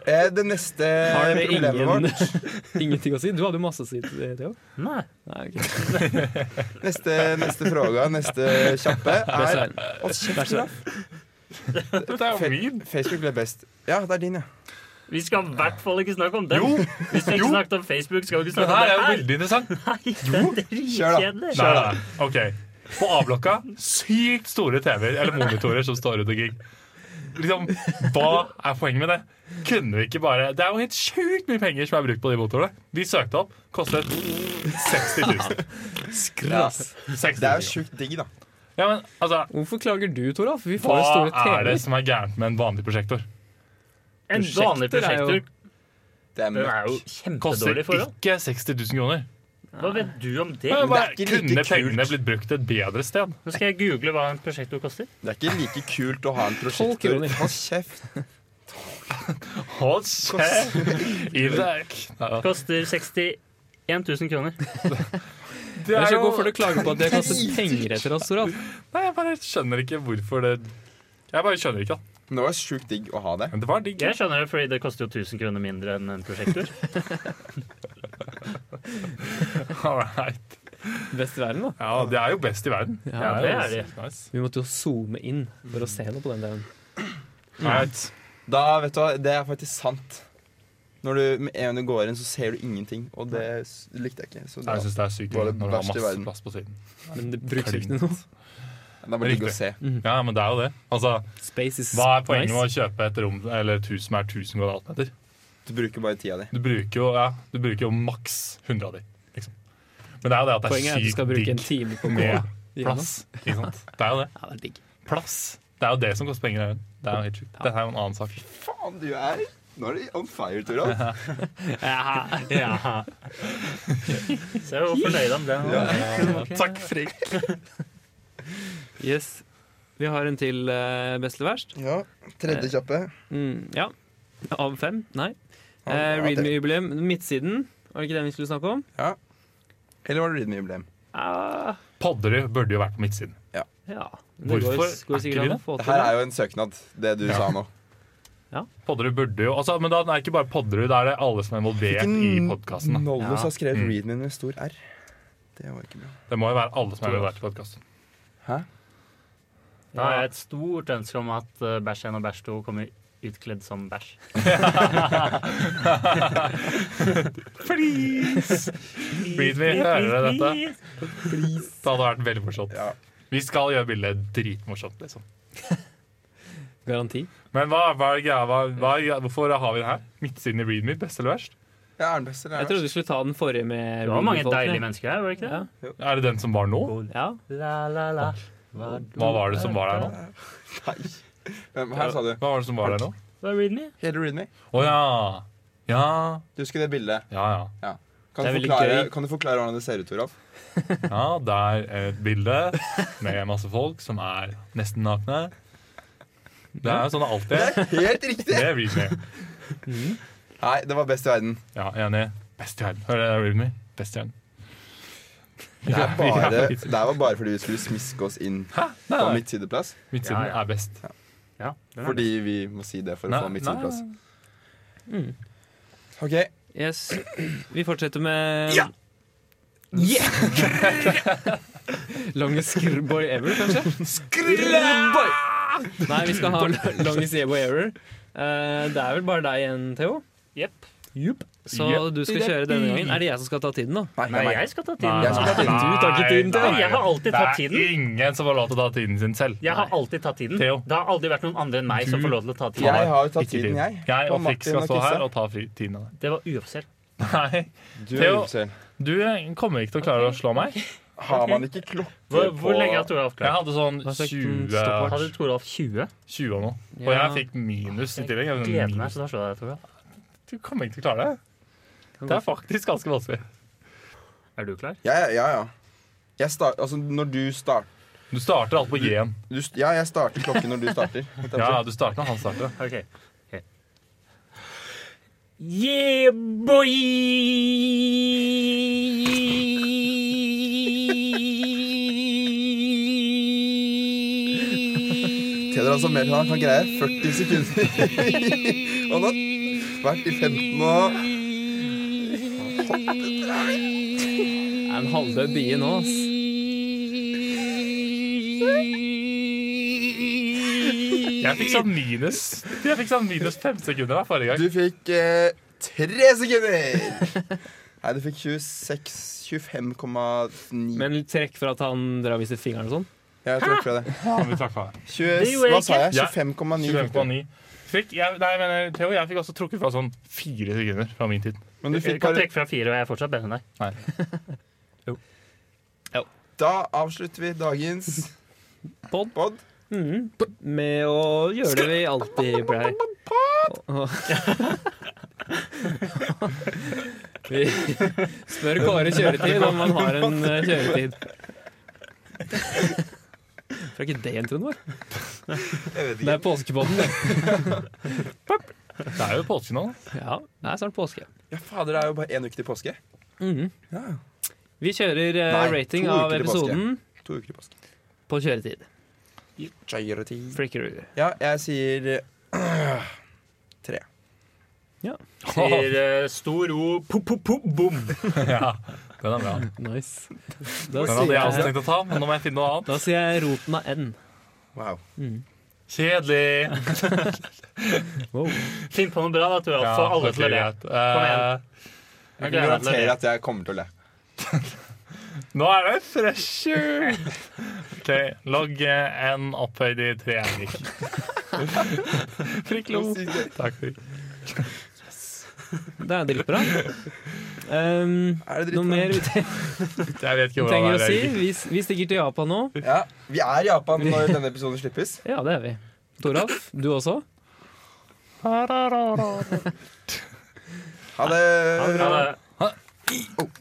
S3: Eh, Det neste
S4: Har dere
S3: problemet vårt
S4: ingen, ingenting å si? Du hadde jo masse å si til det, Theo.
S5: Nei.
S4: Nei, ok.
S3: Neste, neste fråga, neste kjappe, er
S4: Svein.
S3: Hold kjeft, da.
S1: Dette er jo min.
S3: Facebook ble best. Ja, det er din, ja.
S5: Vi skal i hvert fall ikke snakke om den. Hvis vi ikke snakket om Facebook, skal vi ikke
S1: Det
S5: snakke
S1: her er jo
S5: om det her.
S1: veldig interessant.
S5: Nei, det er dritkjedelig.
S1: Nei, nei, nei. Ok. På A-blokka sykt store TV-er eller monitorer som står rundt omkring. Liksom, Hva er poenget med det? Kunne vi ikke bare Det er jo helt sjukt mye penger som er brukt på de motorene. Vi søkte opp. Kostet 60 000.
S3: Det er
S1: 60
S3: jo
S1: 000.
S3: sjukt digg, da.
S1: Ja, men, altså,
S4: Hvorfor klager du, Toralf? Vi får jo store
S1: hva er det
S4: TV-er.
S1: som er gærent med en vanlig prosjektor?
S5: En vanlig
S4: Prosjekter er jo-
S5: prosjektor
S3: Det er
S5: den er jo
S3: møkk.
S1: Koster
S5: kjempedårlig i forhold.
S1: ikke 60 000 kroner.
S5: Hva vet du om det?
S1: Men
S3: det er
S1: bare,
S3: ikke like
S1: kunne
S3: kult.
S1: pengene blitt brukt et bedre sted?
S5: Nå skal jeg google hva en prosjektor koster.
S3: Det er ikke like kult å ha en
S4: Tolv
S3: prosjektor.
S4: kroner.
S3: Hold kjeft.
S1: Hold kjeft! Isak. Nei, da.
S5: Koster 61 000 kroner.
S1: Det
S4: Jeg
S1: er
S4: skal
S1: jo
S4: gå for å klage på at det kostet penger etter oss, Toralf.
S1: Nei, jeg bare skjønner ikke hvorfor det Jeg bare skjønner ikke, da.
S3: Men det var sjukt digg å ha det.
S1: Men det var digg.
S5: Jeg skjønner det, fordi det koster jo 1000 kroner mindre enn en prosjektor.
S1: Alright.
S4: Best i verden, da.
S1: Ja, det er jo best i verden.
S4: Ja,
S5: det er
S1: jo
S5: det.
S1: Nice.
S4: Vi måtte jo zoome inn for å se noe på den delen.
S1: Alright.
S3: Da, vet du hva, Det er faktisk sant. Når du, med en gang du går inn, så ser du ingenting, og det s- likte jeg ikke. Så det
S1: Jeg
S3: var,
S1: syns det er sykt
S3: Var det
S1: når du har
S3: verst i
S1: masse
S3: verden?
S1: plass på siden.
S4: Men det brukes jo ikke til noe.
S3: det er bare digg å se.
S1: Ja, men det er jo det. Altså,
S4: Space is
S1: Hva er poenget med
S4: Mm. nice.
S1: å kjøpe et rom eller et hus som er 1000 kvadratmeter?
S3: Du bruker bare tida di.
S1: Du bruker jo, ja, du bruker jo maks 100 av de, liksom. Men det er jo det at det
S4: Poenget er
S1: er
S4: at du skal
S1: sykt
S4: bruke en
S1: digg
S4: time på å gå
S1: med
S4: gjennom.
S1: plass. Ikke sant? Det er jo det.
S4: Ja, det er digg.
S1: Plass. Det er jo det som koster penger. Even. Det er jo helt sjukt. Dette er jo en annen sak.
S3: Faen, du er Nå er du on fire, Toralf.
S5: Ja. Så jeg var fornøyd om det.
S1: Takk, Frik.
S4: Yes. Vi har en til eh, best eller verst.
S3: Ja, tredje kjappe.
S4: Mm, ja. Av fem? Nei.
S3: Ja,
S4: Eh,
S3: ja,
S4: Read
S3: det-
S4: Me Jubileum. Midtsiden, var det ikke den vi skulle snakke om?
S3: Eller var det Readme Jubileum?
S4: Ah,
S1: Podderud burde jo vært på midtsiden.
S4: ja.
S1: Hvorfor
S4: går, går
S1: er
S4: sikkert
S1: ikke vi
S4: an å
S1: det?
S4: få
S3: Det
S4: til
S3: her
S4: det.
S3: er jo en søknad, det du sa nå.
S1: Podderud burde jo altså, Men da er det ikke bare Podderud, da er det alle som er involvert i podkasten.
S3: Nollus har skrevet
S1: Mm.
S3: Readme med stor R. Det var ikke bra.
S1: Det må jo være alle som er involvert i podkasten.
S3: Hæ?
S5: Da har jeg et stort ønske om at eh, Bæsj 1 og Bæsj 2 kommer utkledd som bæsj.
S1: Please! Read me, hører dere dette? Det hadde vært veldig morsomt.
S3: Ja.
S1: Vi skal gjøre bildet dritmorsomt, liksom.
S4: Garanti.
S1: Men hva, hva, er greia? hva, hva er greia? hvorfor har vi den her? Midtsiden i Readme, best eller verst?
S3: Ja, er den best, eller
S4: Jeg
S3: er den
S4: trodde vi skulle ta den forrige med
S5: Det var mange deilige
S4: menn.
S5: mennesker her, var det ikke det?
S4: Ja.
S1: Er det den som var nå?
S4: ja.
S5: La, la, la. Hva
S1: Hva var det som var der nå?
S3: verst? Nei. Hvem- Her sa du
S1: Hva var det som var der nå?
S5: Hva er Readme?
S3: hele Readme.
S1: Å ja. Ja,
S3: Du husker det bildet.
S1: ja, ja.
S4: Det
S3: Kan du,
S4: er veldig
S3: forklare,
S4: gøy.
S3: kan du forklare hvordan det ser ut, Toralf?
S1: Ja, der er et bilde med masse folk som er nesten nakne. Det er jo sånn det alltid er.
S3: Helt riktig!
S1: Det er Readme.
S3: Nei, det var best i verden.
S1: Ja, enig. Best i verden. Hører dere Readme? Best i verden. vi
S3: Det, er
S1: er
S3: bare,
S1: på
S3: det
S1: midtsiden.
S3: her var bare fordi vi skulle smiske oss inn
S1: Hæ? Nei,
S3: på
S1: nei.
S3: midtsideplass.
S1: Midtsiden
S5: Ja, ja.
S1: er best.
S5: Ja, den er
S3: Fordi vi må si det for å
S1: Nei,
S3: få midtsideplass.
S1: nei.
S4: Mm.
S3: Ok,
S4: Yes. Vi fortsetter med
S3: Ja!
S4: Longest skrboy ever, kanskje? Skrboy! Nei, vi skal ha longest yebo ever. Eh, det er vel bare deg igjen, Theo.
S5: Jepp.
S4: Jupp. Så
S1: Jepp.
S4: du skal kjøre denne gangen. Er det jeg som skal ta tiden, da?
S3: nei,
S5: Nei,
S3: nei,
S5: jeg skal ta tiden.
S3: Jeg skal ta tiden.
S4: Du tar ikke tiden, Theo.
S1: Nei, nei.
S5: Jeg har alltid tatt
S1: Det
S5: tiden.
S1: er ingen som har lov til å ta tiden sin selv.
S5: Jeg har alltid tatt tiden.
S1: Theo.
S5: Det har aldri vært noen andre enn meg som får lov til å ta tiden.
S3: Jeg har jo tatt
S1: Ikke
S3: tiden, jeg.
S1: Jeg
S3: Og
S1: og Fikk
S3: Martin
S1: skal
S3: og
S1: stå
S3: Kisse.
S1: her og ta fri- tiden av deg.
S5: Det var uoffisielt.
S1: Nei,
S3: Du,
S1: Theo.
S3: Ibsen,
S1: du eh, kommer ikke til å klare å slå meg.
S3: har man ikke klokke
S5: Hvor, hvor lenge har
S3: på
S5: Toralf
S1: Jeg
S5: klart?
S1: hadde sånn
S4: Hva fikk den
S5: Mm,
S1: 20,
S4: stoppa?
S5: Hadde Toralf 20?
S1: 20 og noe. Og
S4: Ja.
S1: jeg fikk minus i
S5: Jeg
S1: tillegg. Jeg hadde
S5: gleder meg,
S1: minus.
S5: så da slår jeg deg, Toralf.
S1: Du kommer ikke til å klare det.
S4: Kan
S1: Det
S4: gå
S1: er faktisk ganske vanskelig.
S5: Er du klar?
S3: Ja, ja, ja. Jeg start, altså, når du starter
S1: Du starter alt på G-en.
S3: du, st- Ja, jeg starter klokken når du starter.
S1: Ja, du starter når han starter.
S5: OK. Ok. Yeah, boy!
S3: Tjener altså mer enn han kan greie. 40 sekunder. Han har vært i 15 og
S4: Det er en halvdød bie nå, ass.
S1: Jeg fikk sånn minus Jeg fikk sånn minus fem sekunder der forrige
S3: Du
S1: gang.
S3: fikk eh, 3 sekunder! Nei, du fikk 26 25,9.
S4: Men trekk for at han drar og viser fingeren og sånn.
S3: Jeg tror ikke det.
S1: Faen, vi trakk av.
S3: 20,
S5: gjorde jeg
S3: hva sa jeg?
S1: Ja.
S3: 25,9.
S1: 25,9. Fikk, jeg, nei, men eh, Theo, jeg fikk også trukket fra sånn fire sekunder fra min tid.
S3: Men du
S5: Jeg
S3: fikk
S5: kan
S3: bare
S5: trekke fra fire, og jeg er fortsatt bedre enn deg.
S3: Da avslutter vi dagens
S4: Pod.
S3: pod.
S4: Mhm. Med å gjøre det vi alltid pleier. Og- Vi spør Kåre kjøretid om han har en eh, kjøretid. For er ikke det introen vår? Det er påskepodden, det.
S1: Det er jo påske nå. da.
S4: Ja, det er snart påske.
S3: Ja, fader, det er jo bare én uke til påske.
S4: Mhm.
S3: Ja,
S4: Vi kjører eh,
S3: Nei, to
S4: rating
S3: uker
S4: av
S3: til påske.
S4: episoden
S3: To uker til påske.
S4: på kjøretid.
S3: Charity.
S4: Frickerud.
S3: Ja, jeg sier øh, tre.
S5: Sier eh, stor O, po-po-po-bom.
S1: Ja, den er bra.
S4: Nice. Da
S1: Den hadde jeg også
S4: sier jeg,
S1: tenkt å ta, men nå må jeg finne noe annet.
S4: da sier jeg roten av N.
S3: Wow.
S1: Kjedelig.
S5: eh, Finn på noe bra, da, Toralf. Få alle til å le.
S1: greit. Eh,
S5: Jeg
S3: Jeg
S5: gleder meg til å le.
S3: garanterer at jeg kommer til å le.
S1: nå er det fresher. OK, logg eh, en opphøyd i tre eirik. Frikk lo. Takk. Frikk.
S4: Det er dritbra. Um,
S3: Er det
S4: noe mer vi
S3: dritt?
S1: Jeg vet ikke hva
S4: trenger å
S1: det er.
S4: si?
S1: Eirik.
S4: Vi, vi stikker til Japan nå.
S3: Ja, vi er i Japan når denne episoden slippes.
S4: Ja, det er vi. Toralf, du også?
S3: Ha det!
S5: Ha det.
S1: Ha det.